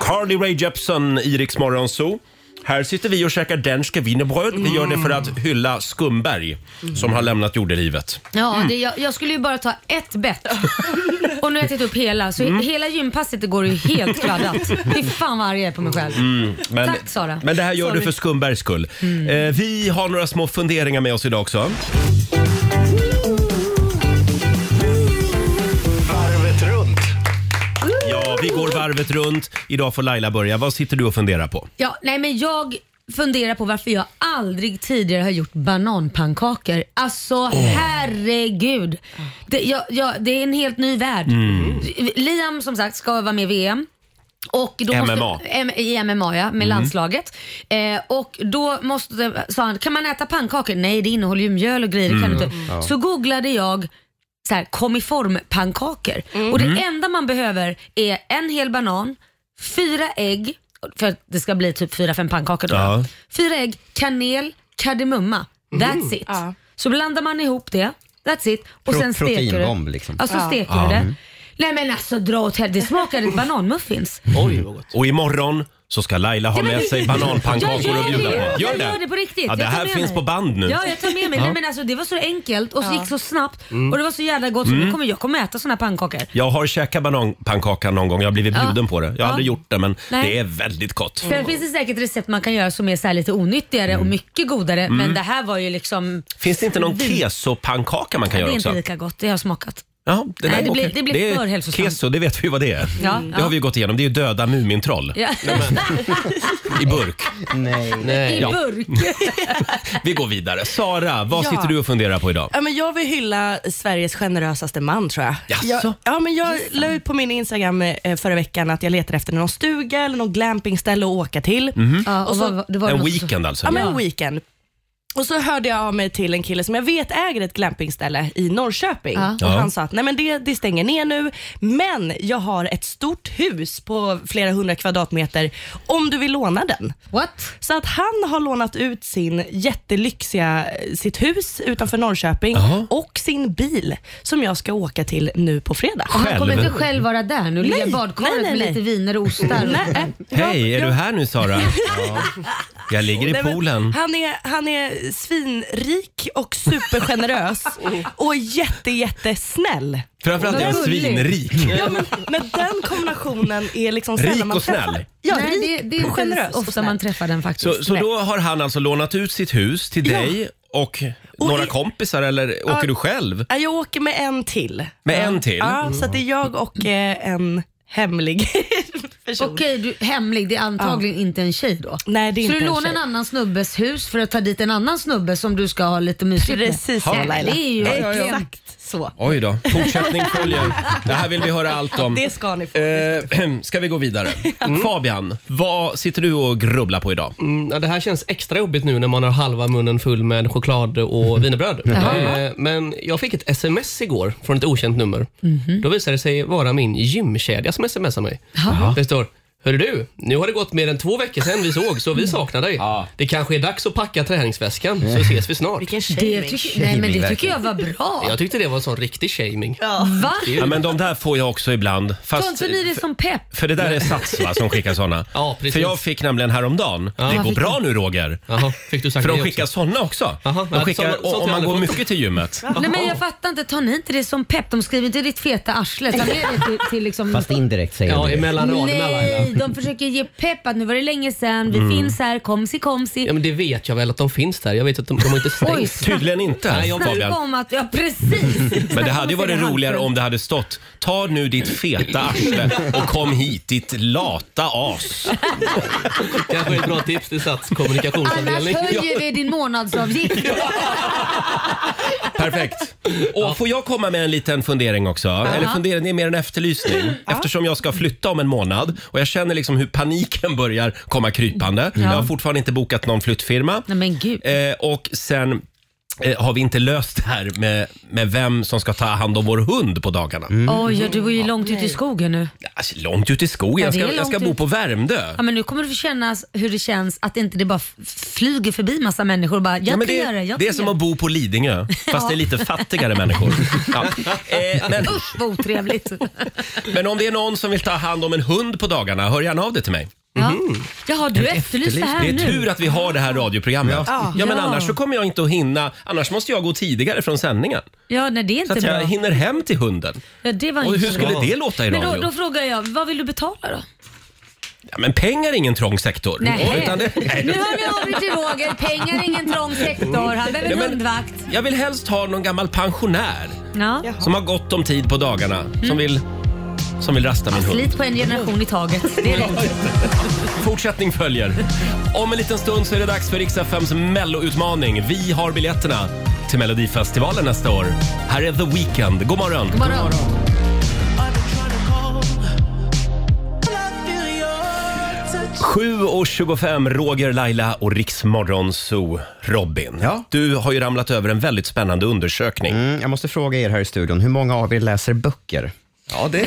Carly Rae Jepsen i Rix Morgon Zoo. Här sitter vi och käkar danska wienerbröd. Vi gör det för att hylla Skumberg Mm. som har lämnat jordelivet. Ja, det, jag, jag skulle ju bara ta ett bett. Och nu har jag tagit upp hela, så hela gympasset det går ju helt kladdat. Fy fan vad arg jag är på mig själv. Mm, men, Tack, Sara. Men det här gör Sorry. Mm. du för Skumbergs skull. Eh, vi har några små funderingar med oss idag också. Varvet runt. Ja, vi går varvet runt. Idag får Laila börja. Vad sitter du och funderar på? Ja, nej men jag funderar på varför jag aldrig tidigare har gjort bananpannkakor. Alltså herregud. Det, jag, jag, det är en helt ny värld. Mm. Liam som sagt ska vara med i VM. Och då MMA. Måste, M- I MMA ja, med Mm. landslaget. Eh, och då måste, sa han, kan man äta pannkakor? Nej det innehåller ju mjöl och grejer. det Kan Mm. du inte. Ja. Så googlade jag så här, kom i form pannkakor. Och det Mm. enda man behöver är en hel banan, fyra ägg, för att det ska bli typ fyra, fem pannkakor då. Ja. Fyra ägg, kanel, kardemumma. That's Mm. it. Ja. Så blandar man ihop det, that's it. Och Pro- sen steker proteinbomb, du. liksom. Alltså Ja. steker Ja. du det. Mm. Nej men alltså dra åt helvete, det smakade bananmuffins. Oj, vad gott. Och imorgon så ska Laila ha Ja, men- med sig bananpannkakor och Jag gör bjuda det. på. Jag gör det på riktigt. Ja, det Jag tar här med finns mig. på band nu. Ja, jag tar med mig. Ja. Nej, men alltså, det var så enkelt och så gick så snabbt Mm. och det var så jävla gott. Så Mm. nu kommer jag kommer äta såna här pannkakor. Jag har käkat bananpannkaka någon gång. Jag har blivit Ja. bjuden på det. Jag har Ja. aldrig gjort det, men Nej. det är väldigt gott. Sen finns det säkert recept man kan göra som är så här lite onyttigare och mycket godare. Mm. Mm. Men det här var ju liksom... Finns det inte någon Vin- kesopannkaka man kan det är göra inte också? lika gott, det har jag smakat. Ja, det, Nej, det blir- okej. det blir är för hälsosamt. Keso, det vet vi vad det är. Ja, det ja. har vi ju gått igenom. Det är ju döda Mumintroll Ja. i burk. Nej. I Ja, burk. vi går vidare. Sara, vad Ja. sitter du och funderar på idag? Ja, men jag vill hylla Sveriges generösaste man tror jag. Jaså? jag ja, men jag la ut på min Instagram eh, förra veckan att jag letar efter någon stuga eller någon glampingställe att åka till. Mhm. Ja, och vad- det var En något- weekend alltså. Ja, men Ja. en weekend. Och så hörde jag av mig till en kille som jag vet äger ett glampingställe i Norrköping. Ja. Och Ja. Han sa att Nej, men det, det stänger ner nu, men jag har ett stort hus på flera hundra kvadratmeter om du vill låna den. What? Så att han har lånat ut sin jättelyxiga, eh, sitt hus utanför Norrköping och sin bil som jag ska åka till nu på fredag. Och han kommer inte själv vara där nu? Ligga i Nej, badkaret nej, nej, med nej. lite viner och ostar? Nej, Hej, är du här nu Sara? Jag ligger i Nej, men poolen. Han är, han är svinrik och supergenerös Oh. och jätte, jättesnäll. Framförallt är han svinrik. Ja, men, men den kombinationen är liksom Rik sällan man och snäll. träffar. Ja, Nej, rik det, det är och inte generös. ofta man träffar den faktiskt. Så, så då har han alltså lånat ut sitt hus till Ja. dig och, några kompisar eller Ja. åker du själv? Ja, Jag åker med en till. Med en till? Ja, Mm. så att det är jag och eh, en hemlig person. Okej, du, hemlig. Det är antagligen inte en tjej då? Nej, det är så inte du en lånar en tjej. annan snubbes hus för att ta dit en annan snubbe som du ska ha lite mysigt Precis med? så, Laila. Det är ju Ja, ja, ja. verkligen- Exakt så. Oj då, fortsättning följer. Det här vill vi höra allt om. Det ska ni få. Eh, ska vi gå vidare? Fabian, vad sitter du och grubblar på idag? Mm, ja, det här känns extra jobbigt nu när man har halva munnen full med choklad och wienerbröd. Mm. Jaha. Eh, Men jag fick ett sms igår från ett okänt nummer. Mhm. Då visade det sig vara min gymkedja som smsar mig. Det står Hörru du, nu har det gått mer än två veckor sedan vi såg så Mm. vi saknar dig. Det kanske är dags att packa träningsväskan så ses vi snart. Vilken Det tycker, nej, men det tycker jag var bra. Jag tyckte det var en sån riktig shaming. Va? Ja, men de där får jag också ibland. Tar Fast, inte ni det som pepp? för det där är Sats va, som skickar såna. Ja, precis. För jag fick nämligen häromdagen, det Ja, går fick bra du? nu Roger. fick du sagt för de det skickar såna också. ja, De skickar, sånt- sånt har om jag man aldrig går fått. mycket till gymmet. Nej men jag fattar inte, tar ni inte det som pepp? De skriver inte ditt feta arsle. utan det är till, till liksom... Fast indirekt säger Ja, du det. emellan raderna Nej, Laila. de försöker ge pepp att nu var det länge sedan, vi Mm. finns här, komsi komsi. Ja, men det vet jag väl att de finns där. Jag vet att de, de har inte stängt. Oj, snacka- Tydligen inte, Nej, jag, Fabian. Snacka om att, ja precis. Men det hade ju varit roligare om det hade stått Ta nu ditt feta arsle och kom hit ditt lata as. Kanske ett bra tips till Sats Annars kommunikationsavdelning. höjer vi din månadsavgift. Perfekt. Och får jag komma med en liten fundering också? Eller fundering, det är mer en efterlysning. Eftersom jag ska flytta om en månad och jag känner liksom hur paniken börjar komma krypande. Ja. Jag har fortfarande inte bokat någon flyttfirma. Nej men gud. Eh, och sen eh, har vi inte löst det här med, med vem som ska ta hand om vår hund på dagarna. Oj, ja, du var ju långt ut i skogen nu. Alltså, långt ut i skogen. Ja, Jag det ska, är jag ska långt bo ut. på Värmdö. Ja, men nu kommer du få känna hur det känns att inte det bara f- flyger förbi massa människor och bara, jag Ja, men kan det, göra det, jag det är kan som göra att bo på Lidingö, fast det är lite fattigare människor. Ja. Eh, men, Usch vad otrevligt. Mm. men om det är någon som vill ta hand om en hund på dagarna, hör gärna av dig till mig. Ja. Jaha, du efterlyste här Det är nu. tur att vi har det här radioprogrammet. Ja, Ja. men Ja. annars så kommer jag inte att hinna. Annars måste jag gå tidigare från sändningen. Ja, nej det är Så inte att jag bra. hinner hem till hunden. Ja, det var Och inte hur bra. skulle det låta i Men då, radio? då frågar jag, vad vill du betala då? Ja, men pengar är ingen trång sektor. Nej. Utan det, Nu hör ni av er till Roger, pengar är ingen trång sektor, han behöver Ja, men- hundvakt. Jag vill helst ha någon gammal pensionär Ja. som har gott om tid på dagarna. Som, vill, som vill rasta min hund. Slit på en generation i taget, det är rätt. Fortsättning följer. Om en liten stund så är det dags för Rix FMs Mello-utmaning. Vi har biljetterna till Melodifestivalen nästa år. Här är The Weeknd. God morgon! God morgon. Sju och 25, Roger, Laila och Riksmorgon Zoo. Robin, du har ju ramlat över en väldigt spännande undersökning. Mm, jag måste fråga er här i studion, hur många av er läser böcker? Ja, det,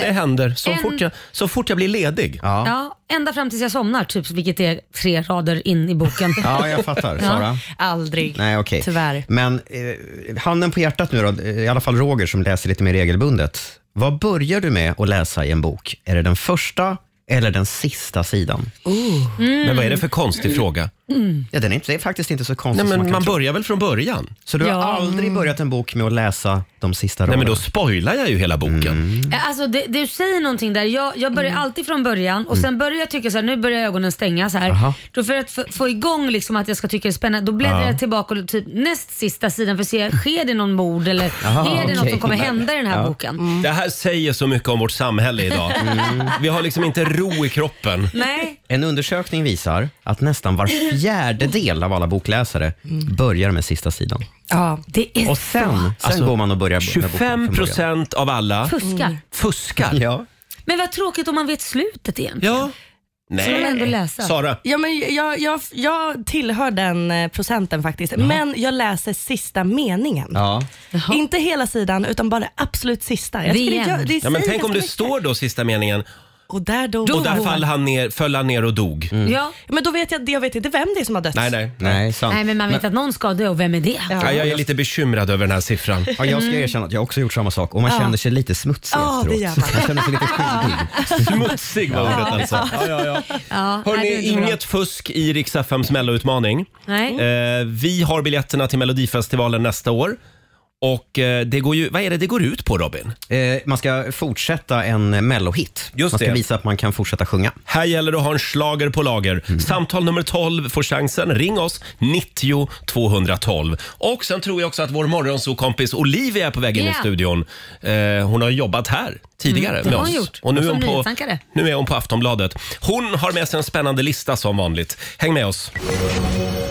det händer. Så, en- fort jag, så fort jag blir ledig. Ja, ända fram tills jag somnar, typ, vilket är tre rader in i boken. Ja, jag fattar. Sara? Aldrig. Nej, okej. Tyvärr. Men eh, handen på hjärtat nu då, eh, i alla fall Roger som läser lite mer regelbundet. Vad börjar du med att läsa i en bok? Är det den första eller den sista sidan? Mm. Oh. Men vad är det för konstig fråga? Mm. Ja, den är, inte, det är faktiskt inte så konstigt Nej, som men man kan tro. börjar väl från början? Så du har Ja. aldrig börjat en bok med att läsa de sista raderna? Mm. men då spoilar jag ju hela boken. Alltså, det, du säger någonting där. Jag, jag Mm. börjar alltid från början och sen börjar jag tycka så här, nu börjar ögonen stänga så här. Aha. Då för att f- få igång liksom att jag ska tycka det är spännande, då bläddrar Ja. jag tillbaka och typ näst sista sidan för att se, sker det någon mord eller Aha, är det något okej. Mm. som kommer hända i den här boken? Det här säger så mycket om vårt samhälle idag. Mm. Vi har liksom inte ro i kroppen. Nej. En undersökning visar att nästan var fjärdedel av alla bokläsare Mm. börjar med sista sidan. Ja, det är Och sen, så. sen går man och börjar med boken från 25 början. Alltså, procent av alla Fuskar. fuskar. Ja. Men vad tråkigt om man vet slutet egentligen. Ja. Så de ändå läsa. Eh, Sara. Ja, men jag, jag, jag tillhör den eh, procenten faktiskt, men jag läser sista meningen. Ja. Inte hela sidan, utan bara det absolut sista. Jag skulle göra- det ja, men säger tänk om ganska det står då sista meningen Och där dog och där fall han ner, föll han ner och dog. Mm. Ja, men då vet jag, jag vet inte vem det är som har dött. Nej, nej. nej, Nej men man vet att någon ska dö och vem är det? Ja, jag är lite bekymrad över den här siffran. Ja, jag ska Mm. erkänna att jag också gjort samma sak och man Ja. känner sig lite smutsig Ja, det efteråt. gör man. känner sig lite skyldig. Smutsig var ordet alltså. Ja, ja, ja. Ja, nej, det är Hörni, inte bra. inget fusk i Rix FMs melloutmaning. Nej. Mm. Eh, vi har biljetterna till Melodifestivalen nästa år. Och eh, det går ju, vad är det det går ut på Robin? Eh, man ska fortsätta en eh, mellohit. Just Man ska det. visa att man kan fortsätta sjunga. Mm. Här gäller det att ha en slager på lager. Samtal nummer 12 får chansen. Ring oss, 90 212. Och sen tror jag också att vår morgonsokompis Olivia är på väg in Ja. i studion. Eh, hon har jobbat här tidigare Mm, det med har oss. hon gjort. Och nu är Som hon, på, nyhetsankare. nu är hon på Aftonbladet. Hon har med sig en spännande lista som vanligt. Häng med oss. What is love?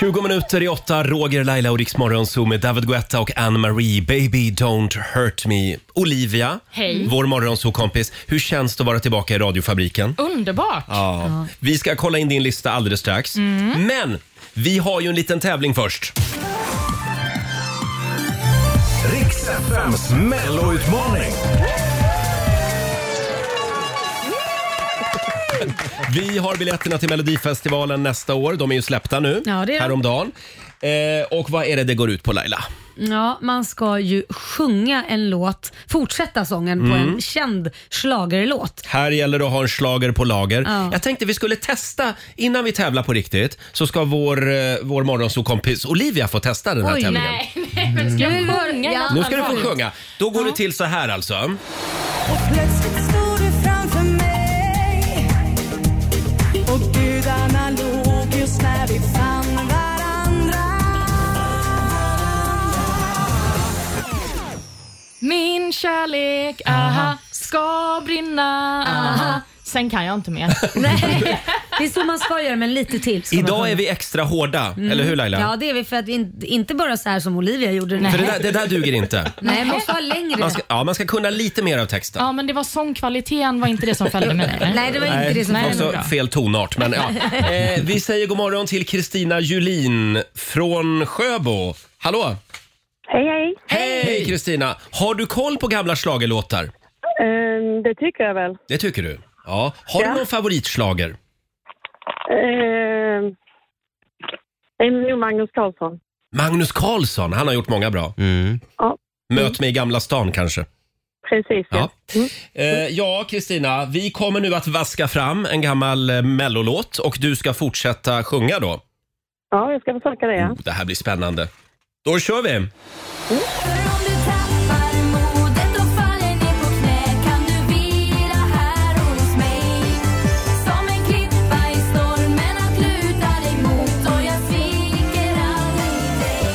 20 minuter i åtta, Roger, Laila och Riksmorgon Zoo med David Guetta och Anne-Marie. Baby don't hurt me. Olivia, Mm. Hej. vår morgonsokompis. Hur känns det att vara tillbaka i radiofabriken? Underbart! Ja. Vi ska kolla in din lista alldeles strax. Mm. Men vi har ju en liten tävling först. Riks FMs melloutmaning. Vi har biljetterna till Melodifestivalen nästa år. De är ju släppta nu, Ja, det är de. häromdagen. Eh, och vad är det det går ut på Laila? Ja, man ska ju sjunga en låt, fortsätta sången på Mm. en känd schlagerlåt. Här gäller det att ha en slager på lager. Ja. Jag tänkte vi skulle testa, innan vi tävlar på riktigt, så ska vår, eh, vår morgonsokompis Olivia få testa den här Oj, tävlingen. nej, nej, men ska jag sjunga? Ja. Nu ska du få sjunga. Då går det till så här alltså. Och plötsligt stod du framför mig Och gudarna log just när vi fann varandra Min kärlek, aha, ska brinna, aha. Sen kan jag inte mer. Nej, det är så man ska göra men lite till. ska man sjunga. Idag är vi extra hårda, Mm. eller hur Laila? Ja, det är vi för att in, inte bara så här som Olivia gjorde. För det där, det där duger inte. Nej, man måste ha längre. Man ska, ja, man ska kunna lite mer av texten. Ja, men det var sångkvaliteten var inte det som följde mig. eller? Nej, det var inte Nej, det som Nej, också bra. fel tonart. Men, ja. eh, vi säger god morgon till Kristina Julin från Sjöbo. Hallå! Hej, hej. Hej Kristina! Har du koll på gamla schlagerlåtar? Ehm, det tycker jag väl. Det tycker du? Ja. Har Ja. du någon favoritslager? Ehm, det är nog Magnus Carlsson. Magnus Carlsson, han har gjort många bra. Ja. Möt mig i Gamla stan kanske. Precis, ja. Ja. Eh, ja, Kristina, vi kommer nu att vaska fram en gammal eh, mellolåt och du ska fortsätta sjunga då. Ja, jag ska försöka det, ja. Det här blir spännande. Då kör vi! Modet och faller ner på knä Kan du vila här hos mig Som en klippa i stormen att luta dig mot Och jag sviker aldrig dig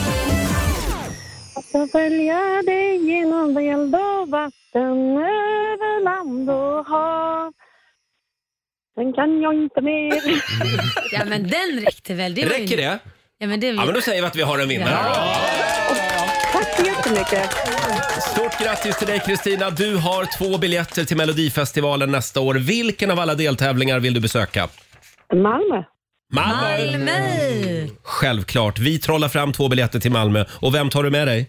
Jag ska följa dig genom eld och vatten, över land och hav. Sen kan jag inte mer. Ja, men den räckte väl? Det var ju- Räcker det? Ja, men det Ja, men då säger vi att vi har en vinnare. Tack så jättemycket. Stort grattis till dig Kristina. Du har två biljetter till Melodifestivalen nästa år. Vilken av alla deltävlingar vill du besöka? Malmö. Malmö! Självklart. Vi trollar fram två biljetter till Malmö. Och vem tar du med dig?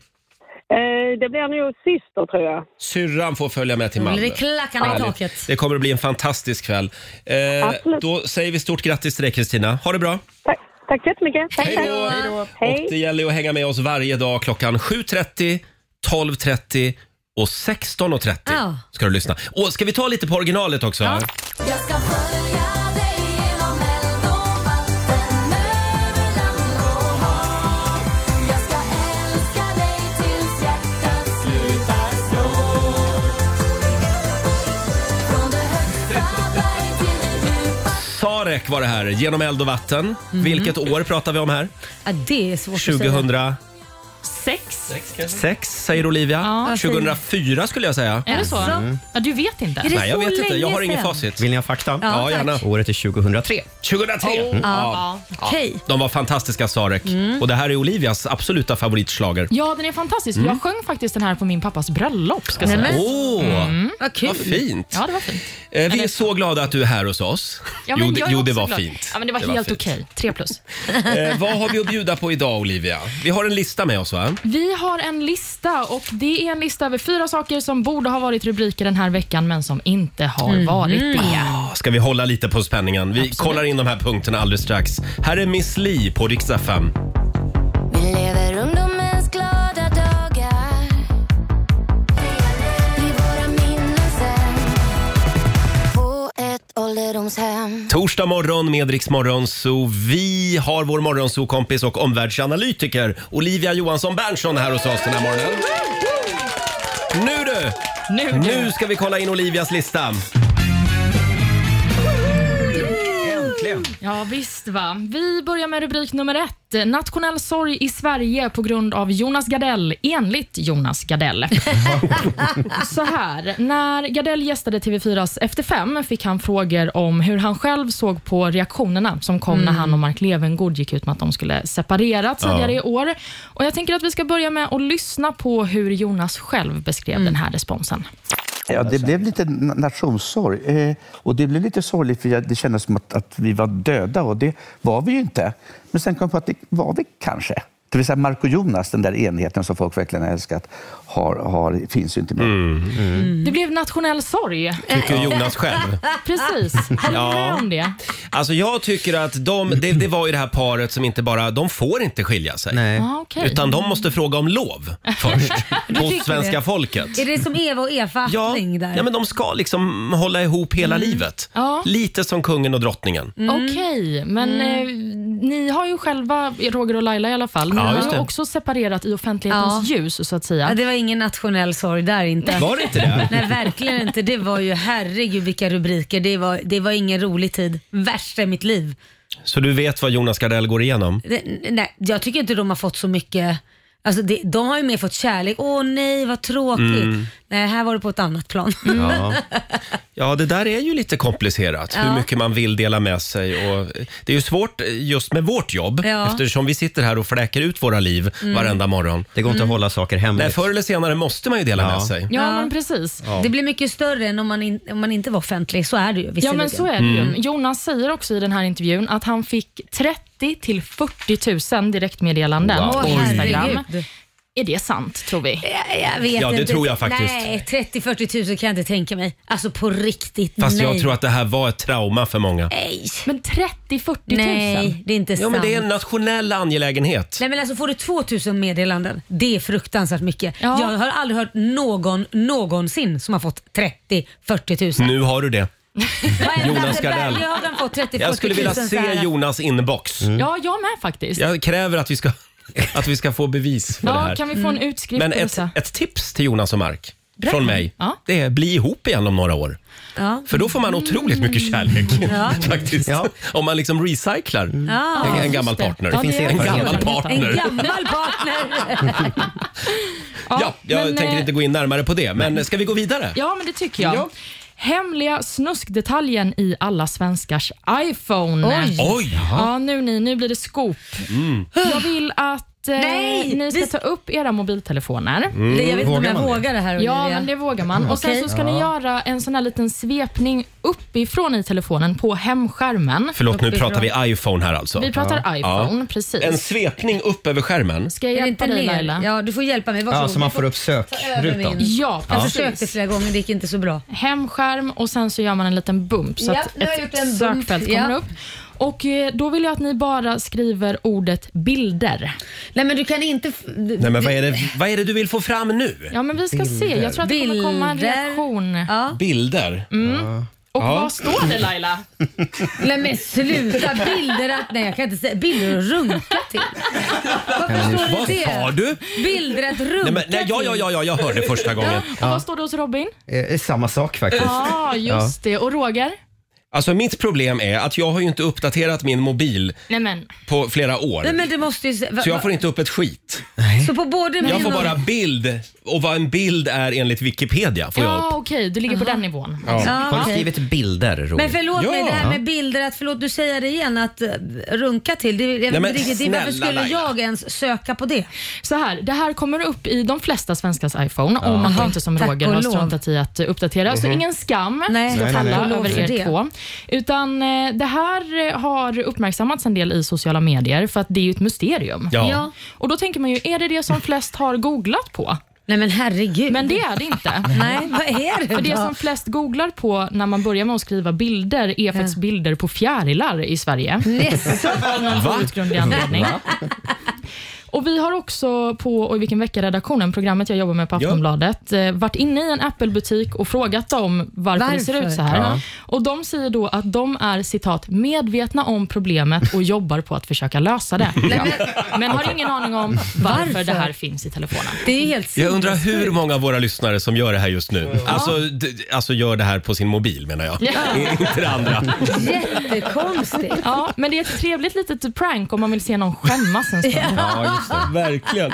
Ehm, det blir nog syster, tror jag. Syrran får följa med till Då Malmö. blir det klackarna i Härligt. taket. Det kommer att bli en fantastisk kväll. Eh, då säger vi stort grattis till dig Kristina. Ha det bra! Tack så jättemycket. Tack, Hej tack. då. Hej. Och det gäller ju att hänga med oss varje dag klockan 7.30, 12.30 och 16.30 Ja. ska du lyssna. Och ska vi ta lite på originalet också? Jag ska följa dig genom eld och vatten Över land och hav Jag ska älska dig tills hjärtat slutar slå Från det högsta berg till det djupa Sarek var det här, Mhm. Genom eld och vatten. Vilket år pratar vi om här? Ja, det är svårt att säga. 2006. Sex? Sex, säger Olivia. Ja. 2004 skulle jag säga. Är det så? Alltså. Mm. Ja, du vet inte? Nej, jag vet inte. Jag har ingen facit. Vill ni ha fakta? Ja, tack. Året är 2003. 2003! Oh, Mm. ja. Okej. De var fantastiska, Sarek. Mm. Och det här är Olivias absoluta favoritslager. Ja, den är fantastisk. Mm. Jag sjöng faktiskt den här på min pappas bröllop. Ska Nej, sägas. men- Åh, Vad kul. vad fint. Ja, det var fint. Eh, Vi är så glada att du är här hos oss. Ja, men jo, det, jag är jo, det också var glad. fint. Ja, men det var helt fint. okej. Tre plus. Eh, vad har vi att bjuda på idag, Olivia? Vi har en lista med oss, va? Vi har en lista och det är en lista över fyra saker som borde ha varit rubriker den här veckan men som inte har Mm. varit det. Ah, Ska vi hålla lite på spänningen? Vi kollar in de här punkterna alldeles strax. Här är Miss Li på riksdag 5. Vi lever ungdomens glada dagar I våra minnen sen På ett ålderdomshem Torsdag morgon med Rix Morgon, så Vi har vår morgonsokompis och omvärldsanalytiker Olivia Johansson Berntsson här hos oss den här morgonen. Nu du! Nu, nu ska vi kolla in Olivias lista. Äntligen! Ja visst va. Vi börjar med rubrik nummer ett. Nationell sorg i Sverige på grund av Jonas Gardell, enligt Jonas Gardell. Så här, när Gardell gästade TV4s Efter fem fick han frågor om hur han själv såg på reaktionerna som kom Mm. när han och Mark Levengood gick ut med att de skulle separera tidigare Ja. i år. Och Jag tänker att vi ska börja med att lyssna på hur Jonas själv beskrev Mm. den här responsen. Ja, det blev lite na- nationssorg. Eh, och det blev lite sorgligt för jag- det kändes som att, att vi var döda och det var vi ju inte. Men sen kom jag på att det var vi kanske. Det vill säga Marco Jonas, den där enheten som folk verkligen har älskat, har, har, finns ju inte med. Mm. Det blev nationell sorg. Tycker Jonas själv. Precis. Håller du med Ja. om det? Alltså jag tycker att de, det, det var ju det här paret som inte bara, de får inte skilja sig. Ah, okej. Utan de måste fråga om lov först. Du hos tycker svenska det? folket. Är det som Eva och Efa Attling där? Ja, men de ska liksom hålla ihop hela Mm. livet. Ja. Lite som kungen och drottningen. Okej, men Mm. eh, ni har ju själva, Roger och Laila i alla fall, ni Ja, har just ju det. också separerat i offentlighetens ljus så att säga. Ja, det var ingen nationell sorg där inte. Var det inte det? Nej, verkligen inte. Det var ju, herregud vilka rubriker. Det var, det var ingen rolig tid. Värsta i mitt liv. Så du vet vad Jonas Gardell går igenom? Det, nej, jag tycker inte de har fått så mycket, alltså det, de har ju mer fått kärlek. Åh nej, vad tråkigt. Mm. Nej, här var det på ett annat plan. Ja. ja, det där är ju lite komplicerat. Ja. Hur mycket man vill dela med sig. Och det är ju svårt just med vårt jobb Ja. eftersom vi sitter här och fräker ut våra liv Mm. varenda morgon. Det går inte Mm. att hålla saker hemligt. Nej, förr eller senare måste man ju dela med sig. Ja, men precis. Ja. Det blir mycket större än om man, in, om man inte var offentlig. Så är det ju Ja, visserligen. men så är det ju. Mm. Jonas säger också i den här intervjun att han fick 30 till 40 000 direktmeddelanden Wow. på Oj. Instagram. Herregud. Är det sant, tror vi? Jag vet Ja, det inte. tror jag faktiskt. Nej, 30-40 000 kan jag inte tänka mig. Alltså på riktigt, Fast nej. jag tror att det här var ett trauma för många. Nej. Men 30-40 Nej, det är inte Ja, sant. men det är en nationell angelägenhet. Nej men alltså får du 2000 meddelanden, det är fruktansvärt mycket. Ja. Jag har aldrig hört någon någonsin som har fått 30-40 000. Nu har du det. Jonas Gardell. Jag har den fått 30 Jag skulle vilja se Jonas inbox. Ja, jag med faktiskt. Jag kräver att vi ska, att vi ska få bevis för Ja, det här. kan vi få en Mm. utskrift Men på ett, detta? ett tips till Jonas och Mark Bra. från mig, Ja. Mm. det är bli ihop igen om några år. Ja. För då får man otroligt mycket kärlek Ja. faktiskt. Om man liksom recyclar Ah. Ja, en, en just gammal det. partner. Ja, det finns en erfarenhet. gammal partner. En gammal partner. ja, jag men, tänker eh, inte gå in närmare på det, men ska vi gå vidare? Ja, men det tycker jag. Ja. Hemliga snuskdetaljen i alla svenskars iPhone. Oj. Oj. Ja, nu, ni, nu blir det scoop. Mm. Jag vill att eh, Nej, ni ska ta upp era mobiltelefoner. Mm. Det- jag vet inte om Vågar jag man det? vågar det här, Ja, Olivia. men det vågar man. Mm, Och Sen okej. så ska Ja. ni göra en sån här liten svepning uppifrån i telefonen på hemskärmen. Förlåt, nu Uppifrån. pratar vi iPhone här alltså. Vi pratar Ja. iPhone, precis. En svepning upp över skärmen. Ska jag Är det hjälpa inte dig ner? Laila? Ja, du får hjälpa mig. Varsågod. Ja, så man Du får upp sökrutan. ta över min. Ja, Jag precis. försökte flera gånger, det gick inte så bra. hemskärm och sen så gör man en liten bump så Ja, att nu har ett jag gjort en bump. sökfält kommer Ja. upp. Och eh, Då vill jag att ni bara skriver ordet bilder. Nej men du kan inte... Nej, men vad är, det, vad är det du vill få fram nu? Ja men vi ska se. Jag tror att det kommer komma en reaktion. Bilder? Mm. Och Ja. vad står det Laila? Nej men sluta, bilder att... Nej jag kan inte säga. Bilder att runka till. Varför står Vad det det? sa du? Bilder att runka Nej, men, nej, ja, ja, ja, ja, jag hörde första gången. Och vad står det hos Robin? Eh, samma sak faktiskt. Ja, just det. Och Roger? Alltså mitt problem är att jag har ju inte uppdaterat min mobil Nej men. på flera år. Nej men det måste ju... va- Så jag va- får inte upp ett skit. Så på både min Jag får och- bara bild och vad en bild är enligt Wikipedia. Får jag upp. Ja, okej. Du ligger på den nivån. Ja, okej. bilder, Roger? Men förlåt mig, det här Ja. med bilder, att, förlåt du säger det igen, att eh, runka till. Det, jag vet Nej, men inte riktigt, det, varför snälla skulle Laila. jag ens söka på det? Så här, det här kommer upp i de flesta svenskars iPhone Ja. om man då Jaha, inte som tack Roger och har lov. struntat i att uppdatera. Så Mhm. alltså ingen skam Nej, ska nej, nej, falla nej. Tack och lov över för er det. två. Utan eh, det här eh, har uppmärksammats en del i sociala medier för att det är ju ett mysterium. Ja. Ja. Och då tänker man ju, är det det som flest har googlat på? Nej men herregud. Men det är det inte. Nej, vad är det För det då? som flest googlar på när man börjar med att skriva bilder är faktiskt bilder på fjärilar i Sverige. Jaså? Av någon outgrundlig anledning. Va? Och Vi har också på Oj vilken vecka-redaktionen, programmet jag jobbar med på Aftonbladet, eh, varit inne i en Apple-butik och frågat dem varför, det ser Varför? ut så här. Ja. Och De säger då att de är citat “medvetna om problemet och jobbar på att försöka lösa det”. Men har ingen aning om varför, Varför? det här finns i telefonen. Det är helt Jag undrar hur många av våra lyssnare som gör det här just nu. Alltså, d- alltså gör det här på sin mobil menar jag. Ja. Inte det andra. Jättekonstigt. Ja, men det är ett trevligt litet prank om man vill se någon skämmas en stund. Ja, just det. Verkligen.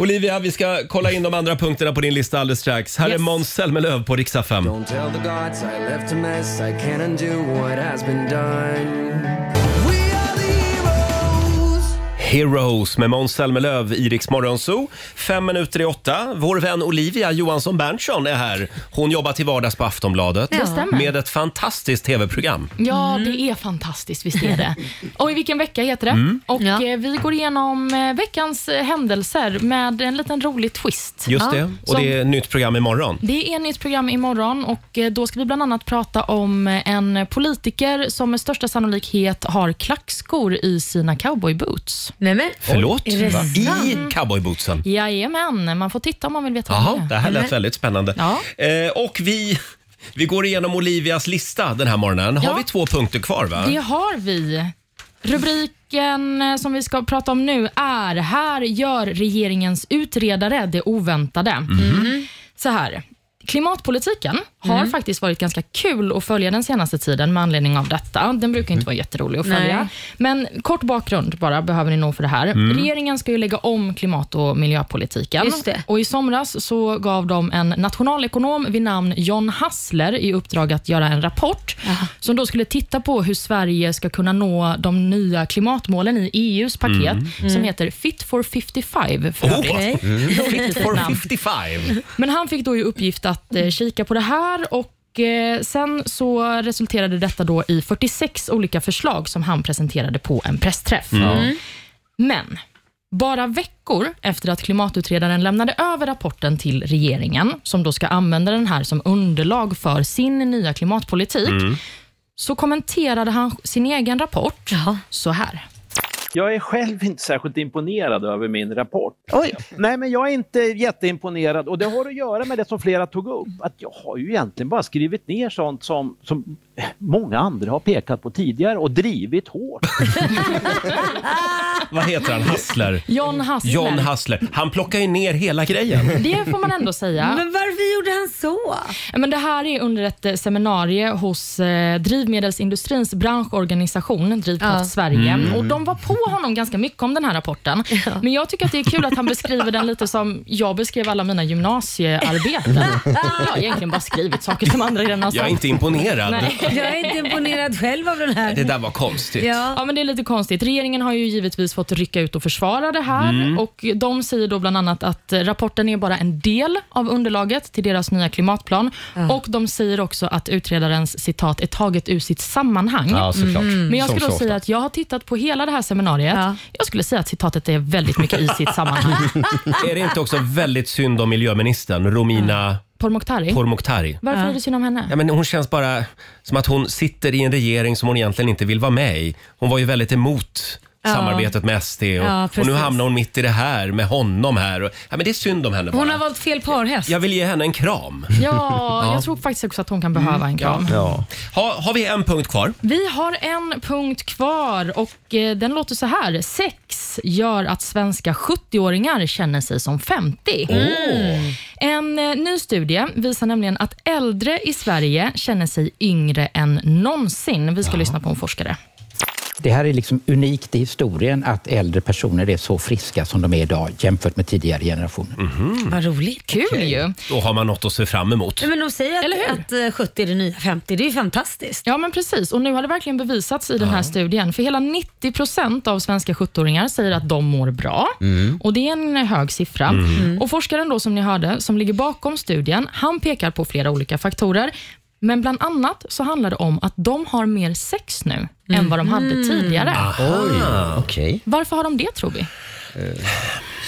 Olivia, vi ska kolla in de andra punkterna på din lista alldeles strax. Här är Yes. Måns Zelmerlöw på riksdag 5. Don't tell the gods I left a mess. I can't undo what has been done. Heroes med Måns Zelmerlöw i Rix Morgon Zoo. Fem minuter i åtta. Vår vän Olivia Johansson Berntsson är här. Hon jobbar till vardags på Aftonbladet Det stämmer. med ett fantastiskt tv-program. Ja, det är fantastiskt. Visst är det. Och i vilken vecka heter det. Mm. Och eh, Vi går igenom eh, veckans eh, händelser med en liten rolig twist. Just Ja. det, och Som- det är ett nytt program imorgon. Det är ett nytt program imorgon och eh, då ska vi bland annat prata om eh, en politiker som med största sannolikhet har klackskor i sina cowboyboots. Nej, men, Förlåt? Är det Va? I sant? cowboybootsen? Jajamän, man får titta om man vill veta Jaha, mer. det här lät Nej. väldigt spännande. Eh, och vi, vi går igenom Olivias lista den här morgonen. Har Ja. vi två punkter kvar? va? Det har vi. Rubriken eh, som vi ska prata om nu är “Här gör regeringens utredare det oväntade”. Så här. Klimatpolitiken har Mhm. Mm. faktiskt varit ganska kul att följa den senaste tiden med anledning av detta. Den brukar ju inte vara jätterolig att följa. Mm. Nej. Men kort bakgrund bara behöver ni nog för det här. Mm. Regeringen ska ju lägga om klimat och miljöpolitiken. Just det. Och I somras så gav de en nationalekonom vid namn John Hassler i uppdrag att göra en rapport som då skulle titta på hur Sverige ska kunna nå de nya klimatmålen i EUs paket Mm. som Mm. heter Fit for 55. För Oh, övrigt. okej. Mm. Roligt Fit for namn. 55. Men han fick då i uppgift att eh, kika på det här och eh, Sen så resulterade detta då i 46 olika förslag som han presenterade på en pressträff. Mm. Men bara veckor efter att klimatutredaren lämnade över rapporten till regeringen, som då ska använda den här som underlag för sin nya klimatpolitik, Mm. så kommenterade han sin egen rapport så här. Jag är själv inte särskilt imponerad över min rapport. Nej, men jag är inte jätteimponerad och det har att göra med det som flera tog upp. Att jag har ju egentligen bara skrivit ner sånt som, som många andra har pekat på tidigare och drivit hårt. Vad heter han? Hassler? John Hassler. John Hassler. Han plockar ju ner hela grejen. Det får man ändå säga. Men varför gjorde han så? Ja, Men det här är under ett eh, seminarium hos eh, drivmedelsindustrins branschorganisation Drivkraft Ja. Sverige. Mm. Och De var på honom ganska mycket om den här rapporten. Men jag tycker att det är kul att han beskriver den lite som jag beskrev alla mina gymnasiearbeten. Jag har egentligen bara skrivit saker som andra redan har sagt. Jag är inte imponerad. Nej. Jag är inte imponerad själv av den här. Det där var konstigt. Ja. men det är lite konstigt. Regeringen har ju givetvis fått rycka ut och försvara det här Mm. och de säger då bland annat att eh, rapporten är bara en del av underlaget till deras nya klimatplan och de säger också att utredarens citat är taget ur sitt sammanhang. Ja, såklart. Mm. Men jag Som skulle då så ofta. säga att jag har tittat på hela det här seminariet. Jag skulle säga att citatet är väldigt mycket i sitt sammanhang. Är det inte också väldigt synd om miljöministern, Romina Pourmokhtari? Pourmokhtari? Varför är det synd om henne? Ja, men hon känns bara som att hon sitter i en regering som hon egentligen inte vill vara med i. Hon var ju väldigt emot Ja. samarbetet med SD och, Ja, och nu precis. hamnar hon mitt i det här med honom här. Och, ja, men det är synd om henne Hon bara. har valt fel parhäst. Jag vill ge henne en kram. Mm. Ja, jag tror faktiskt också att hon kan behöva en kram. Ja. Ha, har vi en punkt kvar? Vi har en punkt kvar och eh, den låter så här. Sex gör att svenska 70-åringar känner sig som 50. Mm. En eh, ny studie visar nämligen att äldre i Sverige känner sig yngre än någonsin. Vi ska lyssna på en forskare. Det här är liksom unikt i historien att äldre personer är så friska som de är idag jämfört med tidigare generationer. Mm. Vad roligt. Kul ju. Då har man något att se fram emot. Nej, men de säger att, att eh, 70 är det nya 50. Det är ju fantastiskt. Ja, men precis. Och nu har det verkligen bevisats i den här studien. För hela 90 procent av svenska 70-åringar säger att de mår bra. Mm. Och Det är en eh, hög siffra. Mm. Och Forskaren då som ni hörde, som ligger bakom studien, han pekar på flera olika faktorer. Men bland annat så handlar det om att de har mer sex nu än vad de hade Mm. tidigare. Oj, okej. Varför har de det tror vi?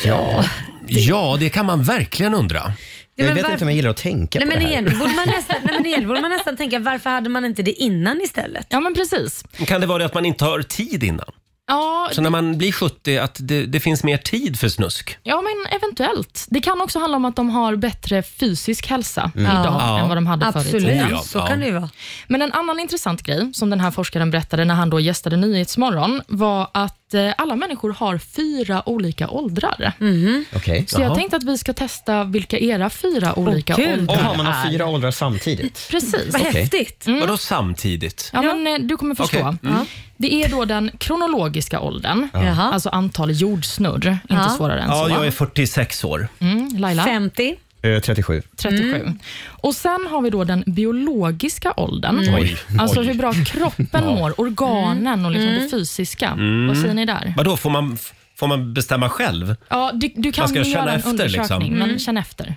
Ja. ja, det kan man verkligen undra. Ja, men vet var- inte om jag gillar att tänka Nej men, egentligen borde man nästan, nej men egentligen borde man nästan tänka varför hade man inte det innan istället? Ja men precis. Kan det vara det att man inte har tid innan? Ja, Så när man blir 70, att det, det finns mer tid för snusk? Ja, men eventuellt. Det kan också handla om att de har bättre fysisk hälsa Mm. idag Ja. än vad de hade förr i Absolut. tiden. Oh ja, Så ja. kan det ju vara. Men en annan intressant grej som den här forskaren berättade när han då gästade Nyhetsmorgon var att eh, alla människor har fyra olika åldrar. Mm. Okej. Så jag tänkte att vi ska testa vilka era fyra olika åldrar Jaha, man är. har fyra åldrar samtidigt. Precis. Vad Okej. häftigt. Mm. Vadå samtidigt? Ja, men eh, du kommer förstå. Okej. Mm. Det är då den kronologiska åldern, Ja. Jaha. alltså antal jordsnurr. Inte Ja. svårare än så. Ja, va? jag är 46 år. Mm, Laila? 50. 37. 37. Mm. Och Sen har vi då den biologiska åldern. Mm. Oj, Alltså oj. hur bra kroppen mår, organen och liksom Mm. det fysiska. Mm. Vad säger ni där? Vadå, får man, f- får man bestämma själv? Ja, du, du Man kan ska ju känna göra en efter, undersökning, liksom. men Mm. känn efter.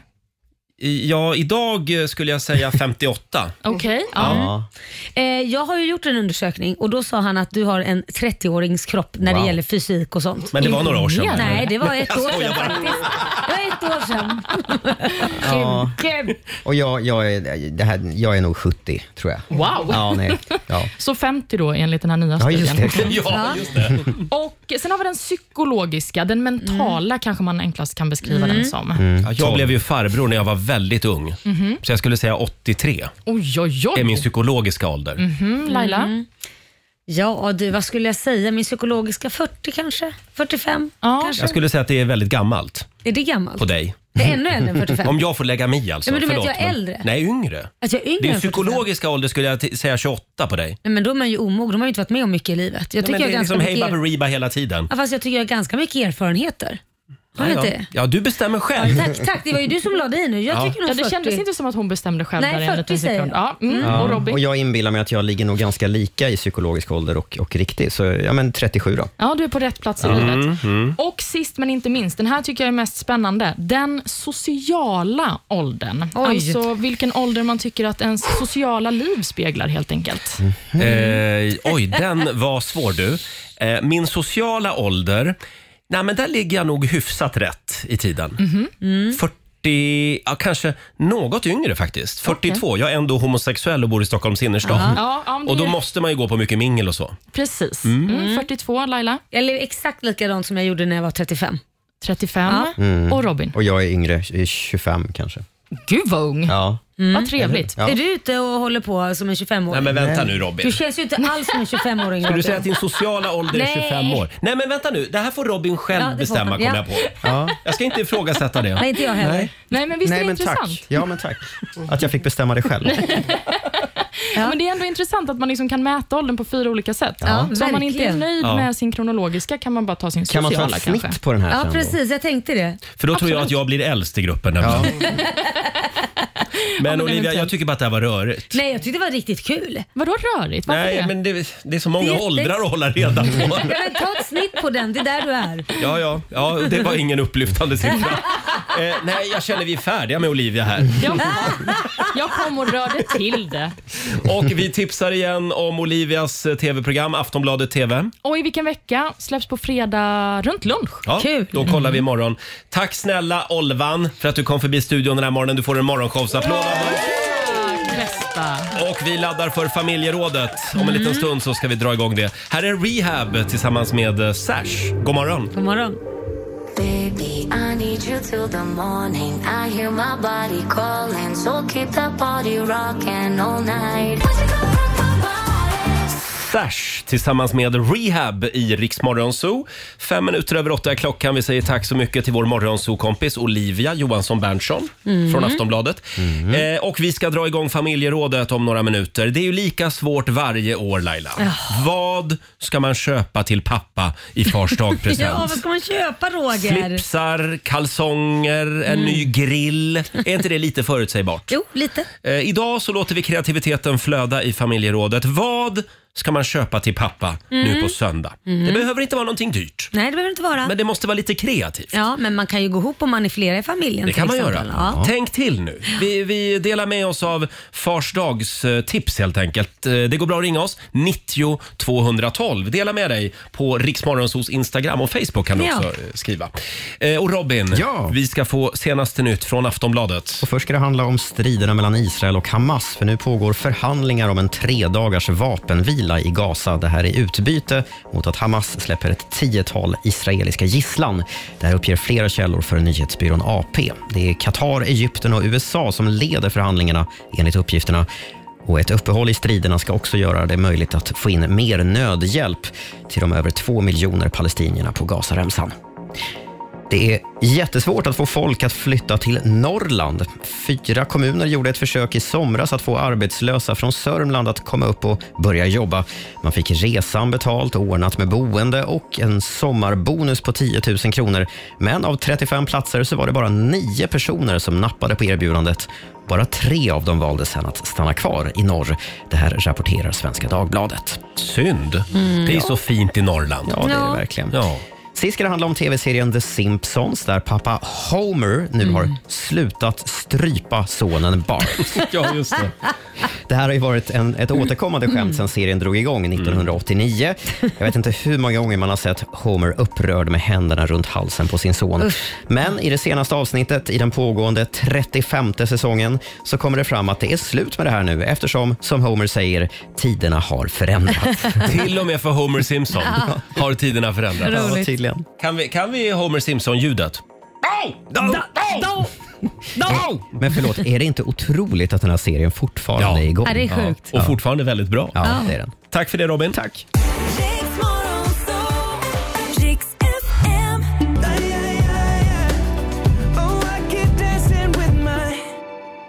I- Ja, idag eh, skulle jag säga 58. Okej. Ja. Eh, jag har ju gjort en undersökning och då sa han att du har en 30-årings kropp när det Wow. gäller fysik och sånt. Men det var några år sedan. Nej, det var ett Jag år skojar sedan faktiskt. Det var ett år sedan. Ja. Kul. Och jag, jag, är, det här, jag är nog 70, tror jag. Wow. Ja, nej. Ja. Så 50 då enligt den här nya Ja, studien. just det. Ja. Och Sen har vi den psykologiska, den Mm. mentala kanske man enklast kan beskriva den som. Mm. Ja, Jag blev ju farbror när jag var väldigt ung. Mhm. Så jag skulle säga 83. Oj, oj, oj. Det är min psykologiska ålder. Mm. Laila? Ja du, vad skulle jag säga? Min psykologiska 40 kanske? 45 kanske? Jag skulle säga att det är väldigt gammalt Är det gammalt? på dig. Det är ännu äldre än 45. Om jag får lägga mig i alltså. Ja, men du menar Förlåt, att jag är äldre? Nej, yngre. Att Alltså, jag är yngre Din än 45. psykologiska ålder skulle jag t- säga 28 på dig. Nej, men då är man ju omogen, de har ju inte varit med om mycket i livet. Ja, Jag tycker men jag det har är ganska liksom Hey mycket er... Baberiba hela tiden. ja, fast jag tycker jag har ganska mycket erfarenheter. Har jag Ja, inte ja. det? ja, du bestämmer själv. Tack, tack, det var ju du som lade i nu. Jag Ja. tycker nog Ja, 40. det kändes inte som att hon bestämde själv Nej, där i en 40 liten säger sekund. Ja, mm. Ja. Och Robin? och jag inbillar mig att jag ligger nog ganska lika i psykologisk ålder och, och riktig, så ja, men 37 då. Mm. Ja, du är på rätt plats i livet. Och sist men inte minst, den här tycker jag är mest spännande. Den sociala åldern. Oj. Alltså vilken ålder man tycker att ens sociala liv speglar helt enkelt. Mm. Eh, oj, den var svår du. Eh, min sociala ålder, nej men där ligger jag nog hyfsat rätt i tiden. Mhm. Mhm. Mm. 40, ja, kanske något yngre faktiskt. 42. Jag är ändå homosexuell och bor i Stockholms innerstad. Ja. Ja, ja, men det och då är- måste man ju gå på mycket mingel och så. Precis. Mm. Mm, 42, Laila? Jag lever exakt likadant som jag gjorde när jag var 35. 35. Mm. Och Robin? Och jag är yngre, i 25 kanske. Gud vad ung! Ja. Mm. Vad trevligt. Ja. Är du ute och håller på som en 25-åring? Nej, men vänta nu, Robin. Du känns ju inte alls som en 25-åring. Ska du Robin. säga att din sociala ålder Nej. är 25 år? Nej men vänta nu, det här får Robin själv Ja, det får bestämma han. kommer Ja. jag på. Jag ska inte ifrågasätta det. Nej, inte jag heller. Nej. Nej, men visst Nej, är det men intressant? tack. Ja, men tack. Att jag fick bestämma det själv. Ja. Men Det är ändå intressant att man liksom kan mäta åldern på fyra olika sätt. Ja, så om man inte är verkligen. nöjd Ja. med sin kronologiska kan man bara ta sin Kan man ta sociala ett snitt kanske. på den här Ja, sen då? precis. Jag tänkte det. För då tror jag att jag blir äldst i gruppen. nämligen. Men Olivia, jag tycker bara att det här var rörigt. Nej, jag tyckte det var riktigt kul. Vadå rörigt? Nej, men det, det är så många Det är jätte- åldrar att hålla reda på. Ja, men ta ett snitt på den, det är där du är. Ja, ja, ja, det var ingen upplyftande siffra. Eh, nej, jag känner vi är färdiga med Olivia här. Jag, jag kom och rörde till det. Och vi tipsar igen om Olivias eh, tv-program Aftonbladet TV. Och i vilken vecka? Släpps på fredag runt lunch. Ja, Då kollar vi imorgon. Tack snälla Olvan för att du kom förbi studion den här morgonen. Du får en morgonshowsapplåd av oss. Tack, Bästa. Och vi laddar för familjerådet. Om en liten stund så ska vi dra igång det. Här är Rehab tillsammans med eh, Sash. God morgon! God morgon. Baby, I need you till the morning. I hear my body calling, so keep that body rocking all night. Sash tillsammans med Rehab i Rix Morgon Zoo. Fem minuter över åtta är klockan. Vi säger tack så mycket till vår morgonzoo-kompis Olivia Johansson Berntsson Mm. från Aftonbladet. Eh, och vi ska dra igång familjerådet om några minuter. Det är ju lika svårt varje år Laila. Vad ska man köpa till pappa i fars dagpresent? Ja, vad ska man köpa Roger? Slipsar, kalsonger, en Mm. ny grill. Är inte det lite förutsägbart? Jo, lite. Eh, idag så låter vi kreativiteten flöda i familjerådet. Vad ska man köpa till pappa nu Mm. på söndag? Mm. Det behöver inte vara någonting dyrt, Nej, det behöver inte vara. men det måste vara lite kreativt. Ja, men man kan ju gå ihop om man är flera i familjen. Det kan man till göra. exempel. Ja. Tänk till nu. Vi, vi delar med oss av fars dags eh, tips helt enkelt. Eh, Det går bra att ringa oss. 90 212. Dela med dig på Riksmorgonsos Instagram och Facebook kan du Ja. också eh, skriva. Eh, Och Robin, vi ska få senaste nytt från Aftonbladet. Och först ska det handla om striderna mellan Israel och Hamas, för nu pågår förhandlingar om en tre dagars vapenvila i Gaza. Det här är utbyte mot att Hamas släpper ett tiotal israeliska gisslan. Det här uppger flera källor för nyhetsbyrån AP. Det är Qatar, Egypten och USA som leder förhandlingarna, enligt uppgifterna. Och ett uppehåll i striderna ska också göra det möjligt att få in mer nödhjälp till de över två miljoner palestinierna på Gazaremsan. Det är jättesvårt att få folk att flytta till Norrland. Fyra kommuner gjorde ett försök i somras att få arbetslösa från Sörmland att komma upp och börja jobba. Man fick resan betalt, ordnat med boende och en sommarbonus på 10 000 kronor. Men av 35 platser så var det bara nio personer som nappade på erbjudandet. Bara tre av dem valde sen att stanna kvar i norr. Det här rapporterar Svenska Dagbladet. Synd. Mm. Det är så fint i Norrland. Ja, det är Ja. det verkligen. Ja. Sist ska det handla om tv-serien The Simpsons där pappa Homer nu har slutat strypa sonen Bart. ja, just det. Det här har ju varit en, ett återkommande skämt sedan serien drog igång 1989. Jag vet inte hur många gånger man har sett Homer upprörd med händerna runt halsen på sin son. Usch. Men i det senaste avsnittet i den pågående 35 säsongen så kommer det fram att det är slut med det här nu eftersom, som Homer säger, tiderna har förändrats. Till och med för Homer Simpson Ja. har tiderna förändrats. Ja, tydligen. Kan vi, kan vi Homer Simpson-ljudet? Men förlåt, är det inte otroligt att den här serien fortfarande är igång? Ja, det är sjukt. Och fortfarande väldigt bra. Ja, Ja. det är den. Tack för det Robin. Tack.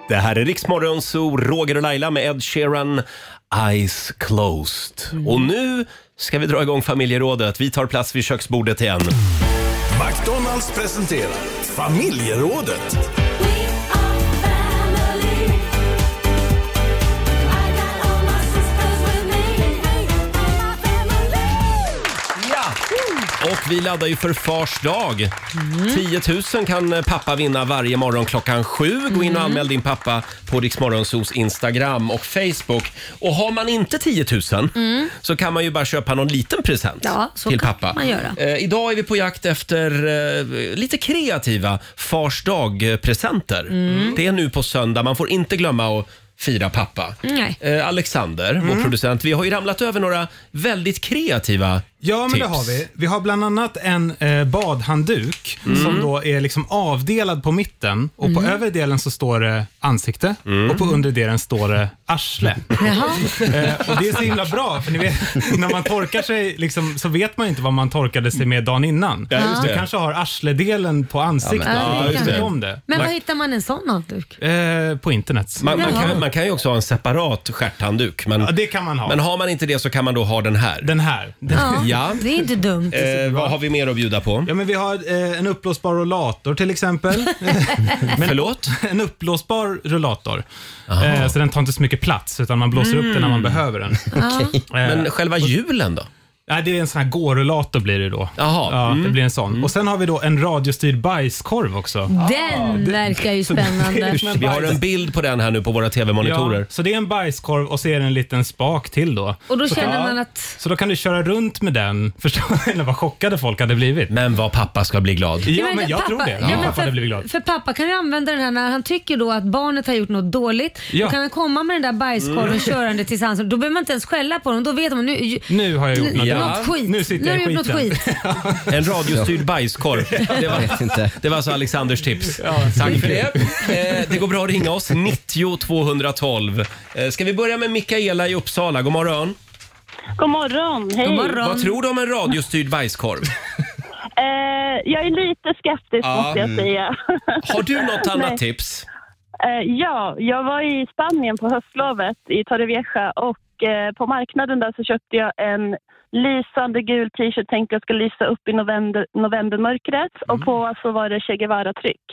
Det här är Riksmorgon Zoo, Roger och Laila med Ed Sheeran, Eyes Closed. Och nu ska vi dra igång familjerådet. Vi tar plats vid köksbordet igen. McDonalds presenterar familjerådet. Och vi laddar ju för Fars dag. 10 000 kan eh, pappa vinna varje morgon klockan sju. Gå Mm. in och anmäl din pappa på Riksmorgonsos Instagram och Facebook. Och har man inte 10 000 Mm. så kan man ju bara köpa någon liten present Ja, så till kan pappa. man göra. Eh, idag är vi på jakt efter eh, lite kreativa Fars dag-presenter. Mm. Det är nu på söndag. Man får inte glömma att fira pappa. Nej. Eh, Alexander, Mm. vår producent, vi har ju ramlat över några väldigt kreativa Ja, men tips. det har vi. Vi har bland annat en eh, badhandduk Mm. som då är liksom avdelad på mitten och på Mm. övre delen så står det ansikte Mm. och på undre delen står det arsle. Eh, och det är så himla bra, för ni vet, när man torkar sig liksom, så vet man inte vad man torkade sig med dagen innan. Ja, just det. Du kanske har arsledelen på ansiktet. Ja, men- och Ja, du vet just inte det. om det. Men var hittar man en sån handduk? Eh, på internet. Man, man, Jaha. kan, man kan ju också ha en separat stjärthandduk. Men, Ja, det kan man ha. men har man inte det så kan man då ha den här. Den här. Ja, Ja. det är inte dumt. Eh, vad har vi mer att bjuda på? Ja, men vi har eh, en uppblåsbar rollator till exempel. men, Förlåt? En uppblåsbar rullator. Eh, så den tar inte så mycket plats utan man blåser upp den när man Mm. behöver den. Men själva hjulen då? Nej, det är en sån här gårullator blir det då. Ja, det Mm. blir en sån. Och sen har vi då en radiostyrd bajskorv också. Den verkar ju spännande. Usch, vi har en bild på den här nu på våra Ja, tv-monitorer. så det är en bajskorv och så är det en liten spak till då. Och då så, känner ja. man att... Så då kan du köra runt med den. Förstår du vad chockade folk hade blivit? Men vad pappa ska bli glad. Ja, men men jag pappa- tror det. ja, men Min pappa för- hade blivit glad. För pappa kan ju använda den här när han tycker då att barnet har gjort något dåligt. Ja. Då kan han komma med den där bajskorven Mm. körande till Sandstorm. Då behöver man inte ens skälla på honom. Då vet man nu... Nu har jag gjort nu- något, något skit. Nu sitter nu jag har du i gjort skiten. något skit. En radiostyrd bajskorv. Det Jag vet inte. var, det var alltså Alexanders tips. Tack för det. Eh, det går bra att ringa oss. 90 212. Eh, ska vi börja med Mikaela i Uppsala? God morgon. God morgon, hej. Vad tror du om en radiostyrd bajskorv? Eh, jag är lite skeptisk Ja. måste jag Mm. säga. Har du något Nej. annat tips? Eh, ja, jag var i Spanien på höstlovet i Torrevieja och eh, på marknaden där så köpte jag en lysande gul t-shirt tänkte jag ska lysa upp i november, novembermörkret Mm. och på så var det Che Guevara-tryck.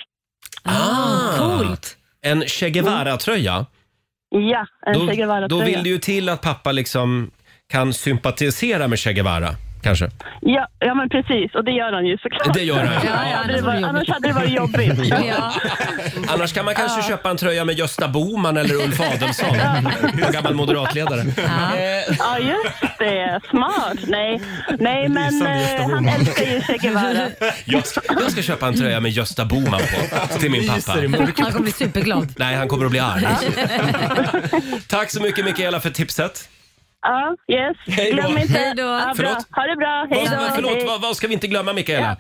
Ah, coolt. En Che Guevara-tröja. Ja, Mm. en Che Då, Guevara-tröja. då vill det ju till att pappa liksom kan sympatisera med Che Guevara, kanske. ja, ja, men precis och det gör han ju såklart. Det gör han. Ja, ja, hade det varit- annars hade det varit jobbigt. Ja. Annars kan man kanske köpa en tröja med Gösta Boman eller Ulf Adelsohn. En gammal moderatledare. Ja, just det. Smart. Nej, Nej men Lysande eh, Gösta han Bohman. älskar ju Che Guevara. Jag ska, jag ska köpa en tröja med Gösta Boman på till min pappa. Myser i mörkret. Han kommer bli superglad. Nej, han kommer att bli arg. Tack så mycket Mikaela för tipset. Ja, yes. Hej då. Glöm inte. Hej då. Ja, bra. Förlåt? Ha det bra. Hej då. Vad, förlåt, Hej. vad, vad ska vi inte glömma Mikaela?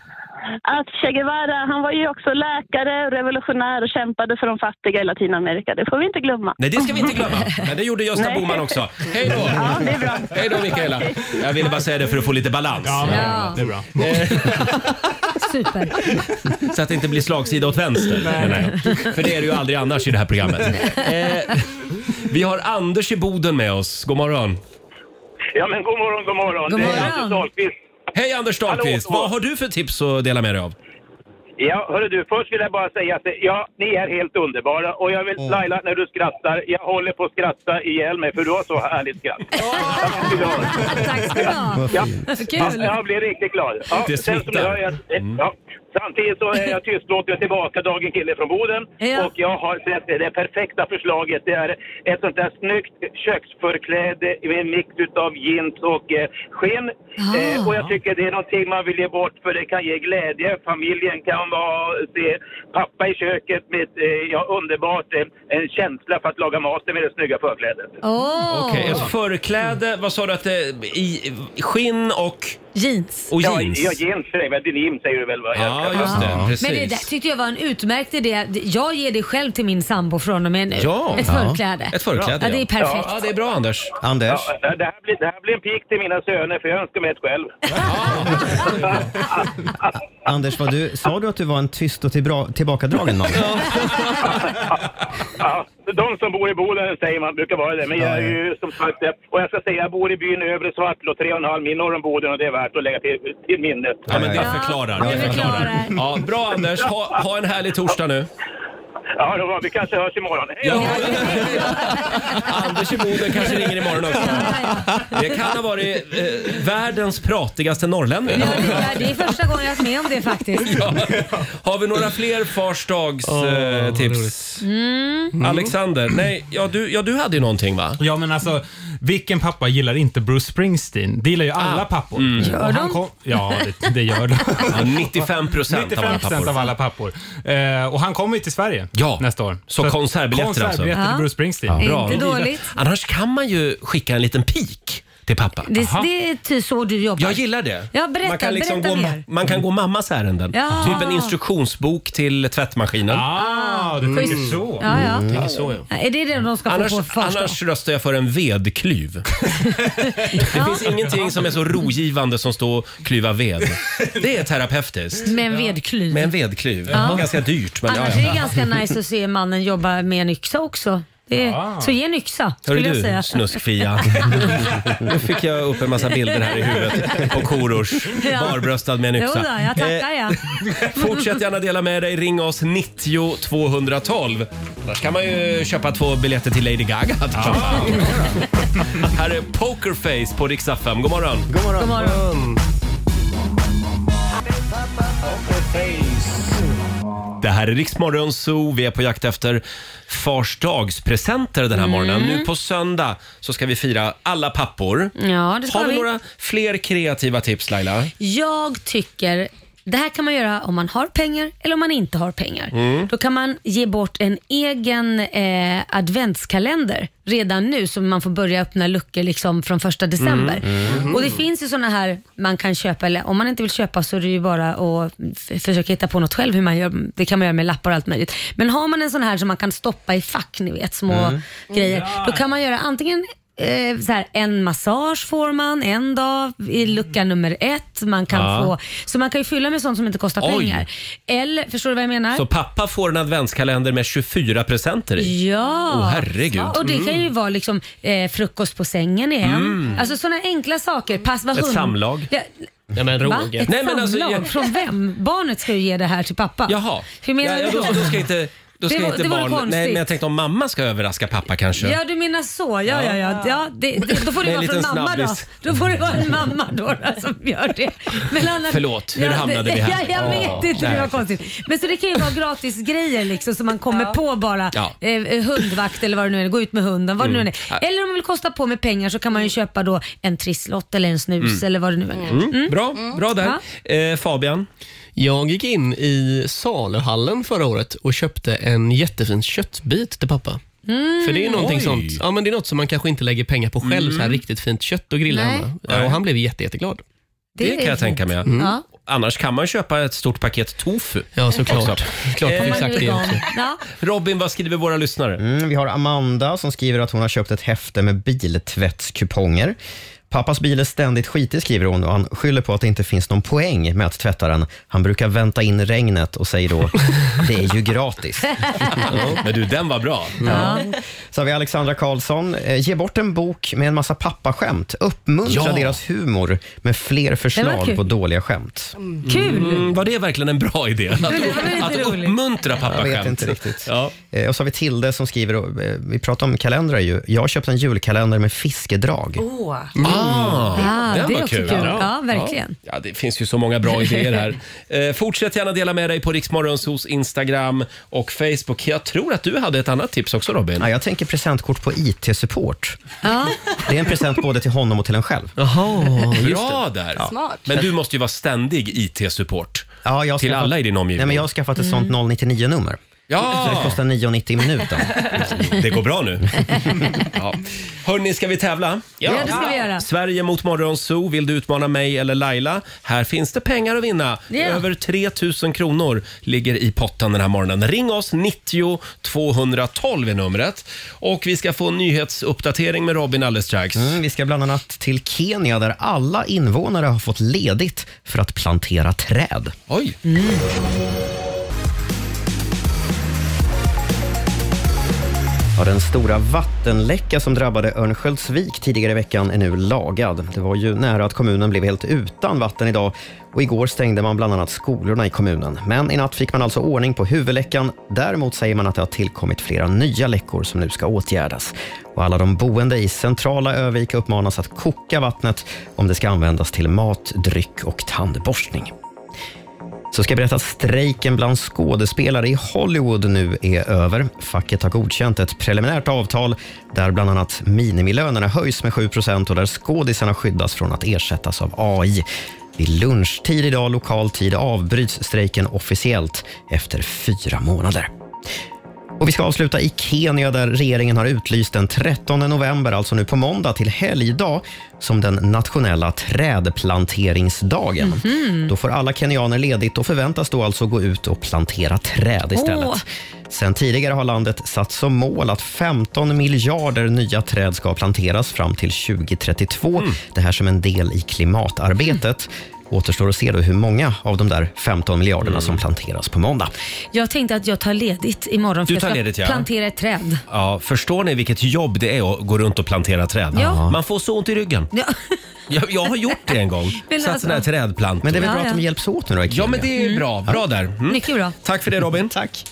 Att Che Guevara, han var ju också läkare och revolutionär och kämpade för de fattiga i Latinamerika. Det får vi inte glömma. Nej, det ska vi inte glömma. Men det gjorde Gösta Nej. Boman också. Hej då! Ja, det är bra. Hej då Mikaela. Jag ville bara säga det för att få lite balans. Ja. Det är bra. Super. Så att det inte blir slagsida åt vänster. menar jag. För det är det ju aldrig annars i det här programmet. Eh, vi har Anders i Boden med oss. God morgon. Ja, men god morgon, god morgon. God det morgon. är Anders Dahlqvist. Hej Anders Dahlqvist! Hallå. Vad har du för tips att dela med dig av? Ja, hörru du, först vill jag bara säga att det- ja, ni är helt underbara. Och jag vill, Mm. Laila, när du skrattar, jag håller på att skratta ihjäl mig för du har så härligt skratt. Tack ska du ha. Ja. Mm. Ja, Kul. jag blir riktigt glad. Ja, Det sen som ni smittar. hör, jag, Mm. ja, samtidigt så är jag tystlåten och tillbakadragen kille från Boden. Ja. Och jag har sett det, det perfekta förslaget. Det är ett sånt där snyggt köksförkläde med en mix utav jeans och eh, skinn. Ah. Eh, och jag tycker det är någonting man vill ge bort för det kan ge glädje. Familjen kan vara, se pappa i köket med ett, eh, ja, underbart, eh, en känsla för att laga maten med det snygga förklädet. Åh. Okej, ett förkläde. Vad sa du att det i i skinn och... Jeans. Och Ja, jeans. ja, jeans säger jag. Denim säger du väl? va? Ja, just det. Precis. Men det där tyckte jag var en utmärkt idé. Jag ger det själv till min sambo från och med nu. Ja. Ett förkläde. Ja, ett förkläde, Ja, det är ja. perfekt. Ja, det är bra Anders. Anders. Ja, det, här blir, det här blir en pik till mina söner, för jag önskar mig ett själv. Anders, vad du, sa du att du var en tyst och tillbra, tillbakadragen man? Ja, de som bor i Boden säger man brukar vara det, men jag är ju som sagt det. Och jag ska säga, jag bor i byn Övre Svartlå, tre och en halv mil norr om Boden och det är värt att lägga till, till minnet. Ja, men det förklarar. Det förklarar. Ja, bra Anders. Ha, ha en härlig torsdag nu. Ja, det var, vi kanske hörs imorgon. Hej då! Anders i Boden kanske ringer imorgon också. Det kan ha varit eh, världens pratigaste norrlänning. Ja, det är första gången jag är med om det faktiskt. Har vi några fler Fars dags, eh, tips? Mm. Alexander, nej, ja du, ja du hade ju någonting va? Ja, men alltså, vilken pappa gillar inte Bruce Springsteen? Det gillar ju alla pappor. Mm. Och han de? kom- ja, det, det gör de. Ja, 95% av alla 95% pappor. av alla pappor. Eh, och han kommer ju till Sverige nästa år. Så, konsertbiljetter, konsertbiljetter alltså? till Bruce Springsteen. Bra. Inte dåligt. Annars kan man ju skicka en liten pik till pappa. Det, det är ty så du jobbar. Jag gillar det. Ja, berätta, man, kan liksom berätta gå, mer. man kan gå mammas ärenden. Ja. Typ en instruktionsbok till tvättmaskinen. Mm. Ah, du tänker så. Mm. Ja, ja. Tänker så, ja. Är det det de ska Annars, få på fars dag? annars röstar jag för en vedklyv. Det finns ingenting som är så rogivande som stå och klyva ved. Det är terapeutiskt. Med en vedklyv. Med en vedklyv. Ja. Ganska dyrt. Men Annars ja, är ja. det ganska nice att se mannen jobba med en yxa också. Det är, Ja. Så ge en yxa, Hörru skulle jag du, säga. snuskfia. Nu fick jag upp en massa bilder här i huvudet på Korosh, Ja. barbröstad med en Jo då, yxa. Eh, jag tackar ja. Fortsätt gärna dela med dig. Ring oss 90 212. Annars kan man ju köpa två biljetter till Lady Gaga. Här är Pokerface på Rix FM. God morgon. God God morgon. Det här är Riksmorgon Zoo. Vi är på jakt efter Fars dagspresenter den här Mm. morgonen. Nu på söndag så ska vi fira alla pappor. Ja, det ska Har vi, vi. några fler kreativa tips Laila? Jag tycker det här kan man göra om man har pengar eller om man inte har pengar. Mm. Då kan man ge bort en egen eh, adventskalender redan nu så man får börja öppna luckor liksom från första december. Mm, mm. Och Det finns ju sådana här man kan köpa, eller om man inte vill köpa så är det ju bara att f- försöka hitta på något själv. Hur man gör. Det kan man göra med lappar och allt möjligt. Men har man en sån här som man kan stoppa i fack, ni vet, små Mm. grejer. Då kan man göra antingen eh, så här, en massage får man en dag i lucka nummer ett. Man kan Ja. få, så man kan ju fylla med sånt som inte kostar Oj. pengar. Eller, förstår du vad jag menar? Så pappa får en adventskalender med 24 presenter i? Ja! Åh, herregud. Och det kan ju Mm. vara liksom, eh, frukost på sängen igen. Mm. Alltså sådana enkla saker. Pass, vad Ett hund- samlag. Ja, Nej men Va? Ett Nej, men alltså, samlag? jag, Från vem? Barnet ska ju ge det här till pappa. jaha. Hur menar ja, ja, du då, då ska inte, då ska Det var- inte det vore barn... konstigt. Nej, men jag tänkte om mamma ska överraska pappa kanske. Ja, du menar så. Ja, ja, ja. ja det, det, då får Det det är vara en från liten mamma då. snabbis. Då får det vara en mamma då, då som gör det. Men annars, Förlåt, hur det- hamnade vi här? Ja, jag Ja, vet inte. Det var nej. konstigt. Men så det kan ju vara gratis grejer liksom som man kommer på bara. Ja. Eh, eh, hundvakt eller vad det nu är. Gå ut med hunden. Vad det Mm. nu är. Eller om man vill kosta på med pengar så kan man ju köpa då en trisslott eller en snus Mm. eller vad det nu är. Mm. Bra, bra där. Eh, Ja. Fabian? Jag gick in i saluhallen förra året och köpte en jättefin köttbit till pappa. Mm. För det är någonting Oj. sånt, ja, men det är något som man kanske inte lägger pengar på själv, Mm. så här riktigt fint kött och grilla Nej. hemma. Nej. Ja, och han blev jätte, jätteglad. Det, kan jag tänka mig. Mm. Ja. Annars kan man köpa ett stort paket tofu. Ja, såklart. Också. Klart man Eh, fick sagt det också. Ja. Robin, vad skriver våra lyssnare? Mm, vi har Amanda som skriver att hon har köpt ett häfte med biltvättskuponger. Pappas bil är ständigt skitig, skriver hon, och han skyller på att det inte finns någon poäng med att tvätta den. Han brukar vänta in regnet och säger då, det är ju gratis. Men du, den var bra. Ja. Så har vi Alexandra Karlsson. Eh, Ge bort en bok med en massa pappaskämt. Uppmuntra Ja. deras humor med fler kul. förslag på dåliga skämt. Kul. Mm, var det verkligen en bra idé? Att, att uppmuntra Jag pappaskämt. vet inte riktigt. Ja. Eh, Och så har vi Tilde som skriver, och, eh, vi pratar om kalendrar ju. Jag har köpt en julkalender med fiskedrag. Åh. Ah, Ah, den det var är också kul. kul. Ja, verkligen. Ja. Ja, det finns ju så många bra idéer här. Eh, fortsätt gärna dela med dig på Riksmorgonsos Instagram och Facebook. Jag tror att du hade ett annat tips också Robin. Ja, jag tänker presentkort på IT-support. Ja. Det är en present både till honom och till en själv. Bra där! Smart. Men du måste ju vara ständig IT-support Ja, jag har till skaffat- alla i din omgivning. Nej, men jag har skaffat ett sånt 099-nummer. Ja. Så det kostar 9,90 i minuten. Det går bra nu. Ja. Hörni, ska vi tävla? Ja. Ja, det ska vi göra. Sverige mot Morgonzoo. Vill du utmana mig eller Laila? Här finns det pengar att vinna. Ja. Över 3 000 kronor ligger i potten den här morgonen. Ring oss, 90 212 är numret. Och vi ska få en nyhetsuppdatering med Robin alldeles strax. Mm, vi ska bland annat till Kenya där alla invånare har fått ledigt för att plantera träd. Oj! Mm. Ja, den stora vattenläcka som drabbade Örnsköldsvik tidigare i veckan är nu lagad. Det var ju nära att kommunen blev helt utan vatten idag och igår stängde man bland annat skolorna i kommunen. Men i natt fick man alltså ordning på huvudläckan. Däremot säger man att det har tillkommit flera nya läckor som nu ska åtgärdas. Och alla de boende i centrala Övik uppmanas att koka vattnet om det ska användas till mat, dryck och tandborstning så ska jag berätta att strejken bland skådespelare i Hollywood nu är över. Facket har godkänt ett preliminärt avtal där bland annat minimilönerna höjs med 7 och där skådisarna skyddas från att ersättas av AI. Vid lunchtid idag lokal tid avbryts strejken officiellt efter fyra månader. Och vi ska avsluta i Kenya där regeringen har utlyst den 13 november, alltså nu på måndag till helgdag, som den nationella trädplanteringsdagen. Då får alla kenyaner ledigt och förväntas då alltså gå ut och plantera träd istället. Åh. Sen tidigare har landet satt som mål att 15 miljarder nya träd ska planteras fram till 2032. Det här som en del i klimatarbetet. Återstår att se då hur många av de där 15 miljarderna som planteras på måndag. Jag tänkte att jag tar ledigt imorgon för Du jag tar ska ledigt, ja. plantera ett träd. Ja, förstår ni vilket jobb det är att gå runt och plantera träd? Ja. Man får så ont i ryggen. Ja. Jag, jag har gjort det en gång. Men Satt alltså- sådana här trädplantor. Men det är väl bra Ja, att de ja. hjälps åt nu då i Ja, Kenya? men det är ju Mm. bra. Bra Ja. där. Mm. Mycket bra. Tack för det Robin. Tack.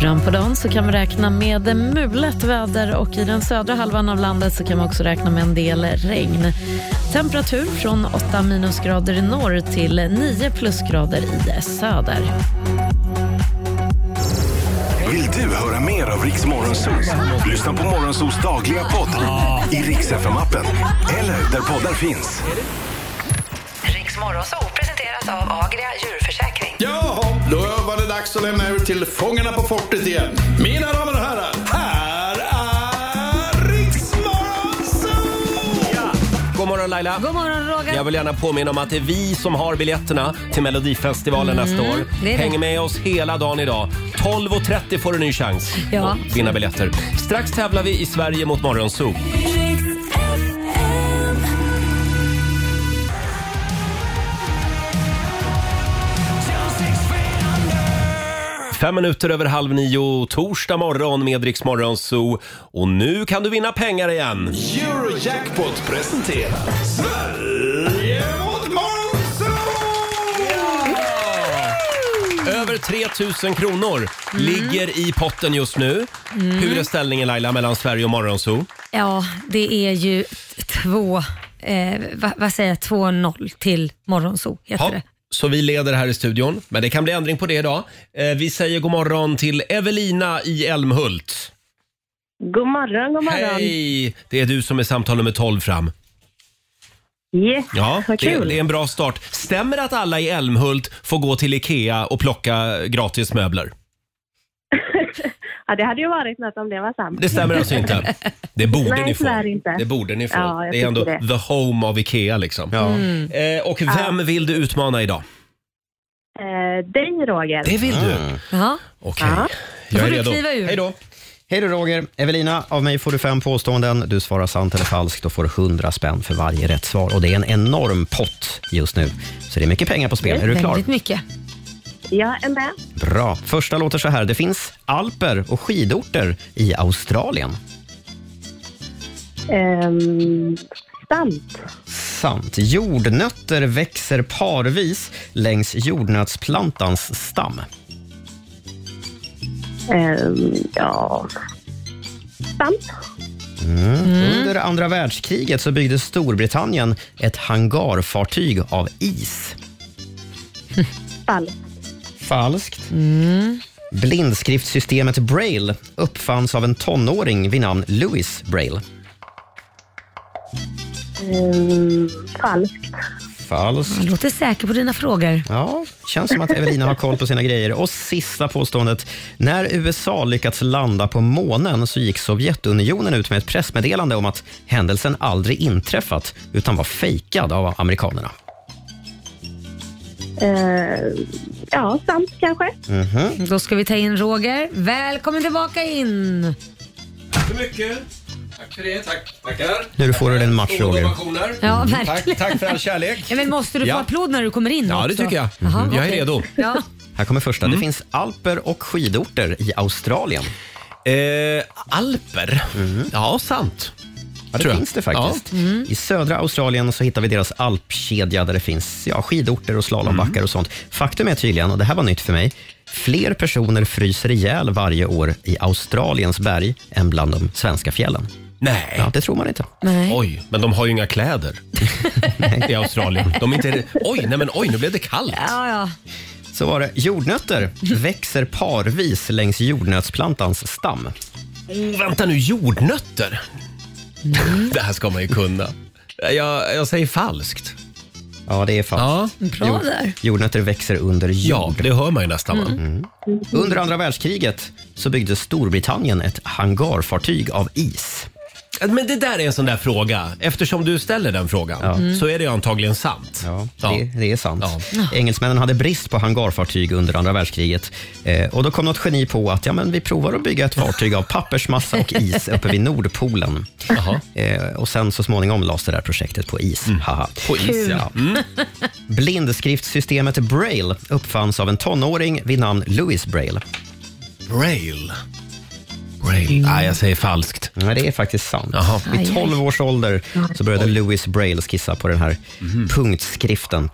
Fram på dagen så kan vi räkna med mulet väder och i den södra halvan av landet så kan man också räkna med en del regn. Temperatur från 8 minusgrader i norr till 9 plusgrader i söder. Vill du höra mer av Riks Morgonzoo? Lyssna på Morgonzoos dagliga podd i Riks FM-appen eller där poddar finns. Riks Morgonzoo presenteras av Agria djurförsäkring. Jaha, då var det dags att lämna över till Fångarna på fortet igen. Mina damer och herrar, här är Riksmorgon! God morgon Laila. Laila! God morgon Roger. Jag vill gärna påminna om att det är vi som har biljetterna till Melodifestivalen Mm, nästa år. det är det. Häng med oss hela dagen idag. 12.30 får du en ny chans Ja. att vinna biljetter. Strax tävlar vi i Sverige mot Morgonzoo. Fem minuter över halv nio, torsdag morgon med Rix Morgonzoo. Och nu kan du vinna pengar igen! Eurojackpot presenterar Sverige mot Över 3 000 kronor ligger i potten just nu. Mm. Hur är ställningen Laila mellan Sverige och Morgonzoo? Ja, det är ju t- två, eh, vad, vad säger jag, 2-0 till Morgonzoo heter Ja, det. Så vi leder här i studion, men det kan bli ändring på det idag. Eh, Vi säger god morgon till Evelina i Älmhult. God morgon, god morgon. Hej! Det är du som är samtal nummer 12 fram. Yes, Ja, vad det, kul. det är en bra start. Stämmer det att alla i Älmhult får gå till IKEA och plocka gratis möbler? ja, det hade ju varit något om det var sant. Det stämmer alltså inte? Det borde Nej, ni få. tyvärr inte. Det borde ni få. Ja, jag det är ändå tycker det. the home av IKEA liksom. Mm. Eh, och vem vill du utmana idag? Eh, dig, Roger. Det vill du. Mm. Ja. Okej. Då får du kliva ur. Hej då. Hej då Roger. Evelina, av mig får du fem påståenden. Du svarar sant eller falskt. Då får du 100 spänn för varje rätt svar. Och det är en enorm pott just nu. Så det är mycket pengar på spel. Är du klar? Väldigt mycket. Jag är med. Bra. Första låter så här. Det finns alper och skidorter i Australien. Ehm, sant. Sant. Jordnötter växer parvis längs jordnötsplantans stam. Ehm, ja. Sant. Mm. Under andra världskriget så byggde Storbritannien ett hangarfartyg av is. Falskt. Falskt. Mm. Blindskriftssystemet Braille uppfanns av en tonåring vid namn Louis Braille. Ehm, falskt. Falskt. Du låter säker på dina frågor. Ja, känns som att Evelina har koll på sina grejer. Och sista påståendet. När USA lyckats landa på månen så gick Sovjetunionen ut med ett pressmeddelande om att händelsen aldrig inträffat utan var fejkad av amerikanerna. Ehm, ja, sant kanske. Mhm. Då ska vi ta in Roger. Välkommen tillbaka in! Tack så mycket. Tack för det. Tack. Tackar. Nu får du en match, Roger. Ja, Mm. verkligen. Tack, tack för all kärlek. Ja, men måste du få Ja. applåd när du kommer in Ja, det också? tycker jag. Jaha, Mhm. Jag är okej. redo. Ja. Här kommer första. Mm. Det finns alper och skidorter i Australien. Eh, Mm. alper? Ja, sant. Ja, det Tror jag. Mm. finns det faktiskt. I södra Australien så hittar vi deras alpkedja där det finns ja, skidorter och slalombackar Mm. och sånt. Faktum är tydligen, och det här var nytt för mig, fler personer fryser ihjäl varje år i Australiens berg än bland de svenska fjällen. Nej. Ja, det tror man inte. Oj, men de har ju inga kläder i Australien. De är inte... Oj, nej men oj, nu blev det kallt. Ja, ja. Så var det. Jordnötter växer parvis längs jordnötsplantans stam. Oh, vänta nu, jordnötter? Det här ska man ju kunna. Jag, jag säger falskt. Ja, det är falskt. Mm, Bra där. Mm. Jordnötter växer under jord. Ja, det hör man ju nästan. va? Under andra världskriget så byggde Storbritannien ett hangarfartyg av is. Men det där är en sån där fråga. Eftersom du ställer den frågan Mm. så är det antagligen sant. Ja, Ja. Det, det är sant. Engelsmännen hade brist på hangarfartyg under andra världskriget. Eh, och Då kom något geni på att ja, men vi provar att bygga ett fartyg av pappersmassa och is uppe vid Nordpolen. Eh, och sen så småningom lades det där projektet på is. Haha. Mm. På is, ja. Mm. Blindskriftsystemet Braille uppfanns av en tonåring vid namn Louis Braille. Braille. Mm. Braille. Nej, jag säger falskt. Nej, det är faktiskt sant. Aj, Vid aj. 12 års ålder så började Louis Braille skissa på den här Mhm. punktskriften.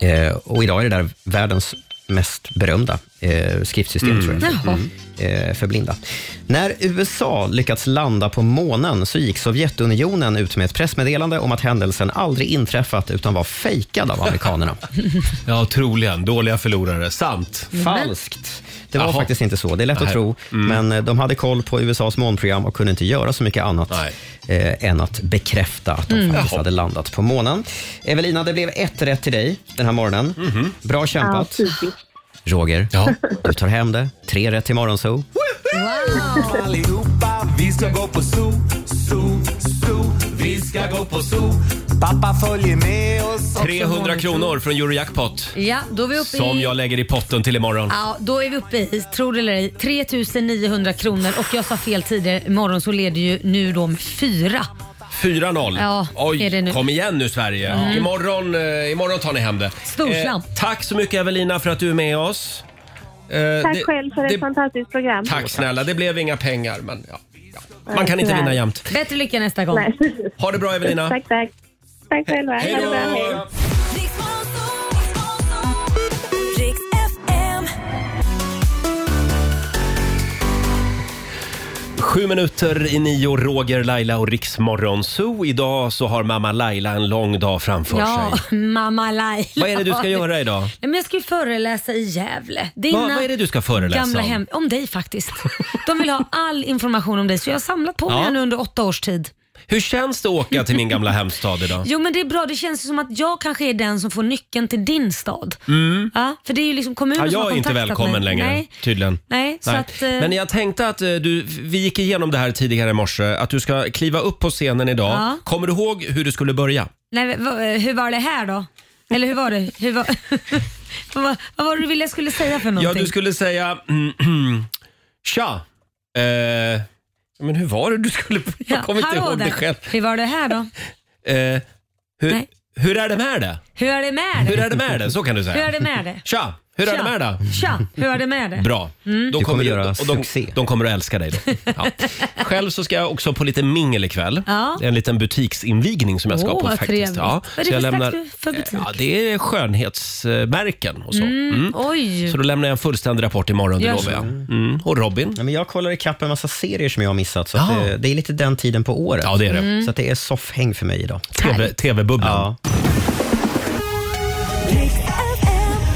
Eh, och idag är det där världens mest berömda eh, skriftsystem, Mm. tror jag. Jaha. Eh, för blinda. När USA lyckats landa på månen så gick Sovjetunionen ut med ett pressmeddelande om att händelsen aldrig inträffat utan var fejkad av amerikanerna. Ja, troligen. Dåliga förlorare. Sant. Falskt. Det var Jaha. faktiskt inte så. Det är lätt Nej. Mm. att tro. Men eh, de hade koll på USAs månprogram och kunde inte göra så mycket annat eh, än att bekräfta att de Mm. faktiskt Jaha. hade landat på månen. Evelina, det blev ett rätt till dig den här morgonen. Mhm. Bra Ja, kämpat. typiskt. Roger, du tar hem det. Tre rätt till Morgonzoo. Wow. Allihopa, vi ska gå på zoo, zoo, zoo. Vi ska gå på zoo, Pappa följer med oss. 300 kronor från Eurojackpot. Ja, då är vi uppe Som i... jag lägger i potten till imorgon. Ja, då är vi uppe i, tror det eller ej, 3900 kronor och jag sa fel tidigare. Imorgon så leder ju nu de fyra. 4-0. Ja, Oj, är det nu. kom igen nu Sverige. Mm. Imorgon, eh, imorgon tar ni hem det. Eh, Storslam. tack så mycket Evelina för att du är med oss. Eh, Tack det- själv för ett det- fantastiskt program. Tack snälla, det blev inga pengar men ja. ja. Man kan inte vinna jämt. Bättre lycka nästa gång. Ha det bra Evelina. Tack, tack. Tack själva. Hej Ha det då. bra, hej. Sju minuter i nio, Roger, Laila och Riksmorgon Zoo. Idag så har mamma Laila en lång dag framför Ja, sig. mamma Laila. Vad är det du ska göra idag? Nej, men jag ska ju föreläsa i Gävle. Vad- vad är det du ska föreläsa gamla om? Hem, om dig faktiskt. De vill ha all information om dig så jag har samlat på Ja. mig nu under åtta års tid. Hur känns det att åka till min gamla hemstad idag? Jo men det är bra, det känns ju som att jag kanske är den som får nyckeln till din stad. Mm. Ja, för det är ju liksom kommunen Ja, som har jag är inte kontaktat välkommen mig. längre Nej. tydligen. Nej, så att, eh, Men jag tänkte att eh, du, vi gick igenom det här tidigare i morse, att du ska kliva upp på scenen idag. Ja. Kommer du ihåg hur du skulle börja? Nej, va- hur var det här då? Eller hur var det? Hur var, vad, vad var det du ville jag skulle säga för någonting? Ja, du skulle säga mm, Tja! Eh, men hur var det du skulle... Jag kommer inte hallå ihåg där. det själv. Hur var det här då? Eh, hur, hur är det med det? Hur är det med det? Hur är det med det? Så kan du säga. Hur är det med det? Tja! Hur är det med det? Tja, hur är det med det? Bra. Mm. Då kommer göra och de, de kommer att älska dig då. Ja. Själv så ska jag också på lite mingel ikväll. Ja. Det är en liten butiksinvigning som jag ska Åh, på vad faktiskt. trevligt. Vad är det Så jag för lämnar- slags för butik? Ja, det är skönhetsmärken och så. Mm, Mm. Oj. Så då lämnar jag en fullständig rapport imorgon, det Gör lovar så. jag. Mm. Och Robin? Ja, men jag kollar ikapp en massa serier som jag har missat, så Ja. att det, det är lite den tiden på året. Ja, det är det. Mm. Så att det är soffhäng för mig idag. TV TV-bubblan. Ja.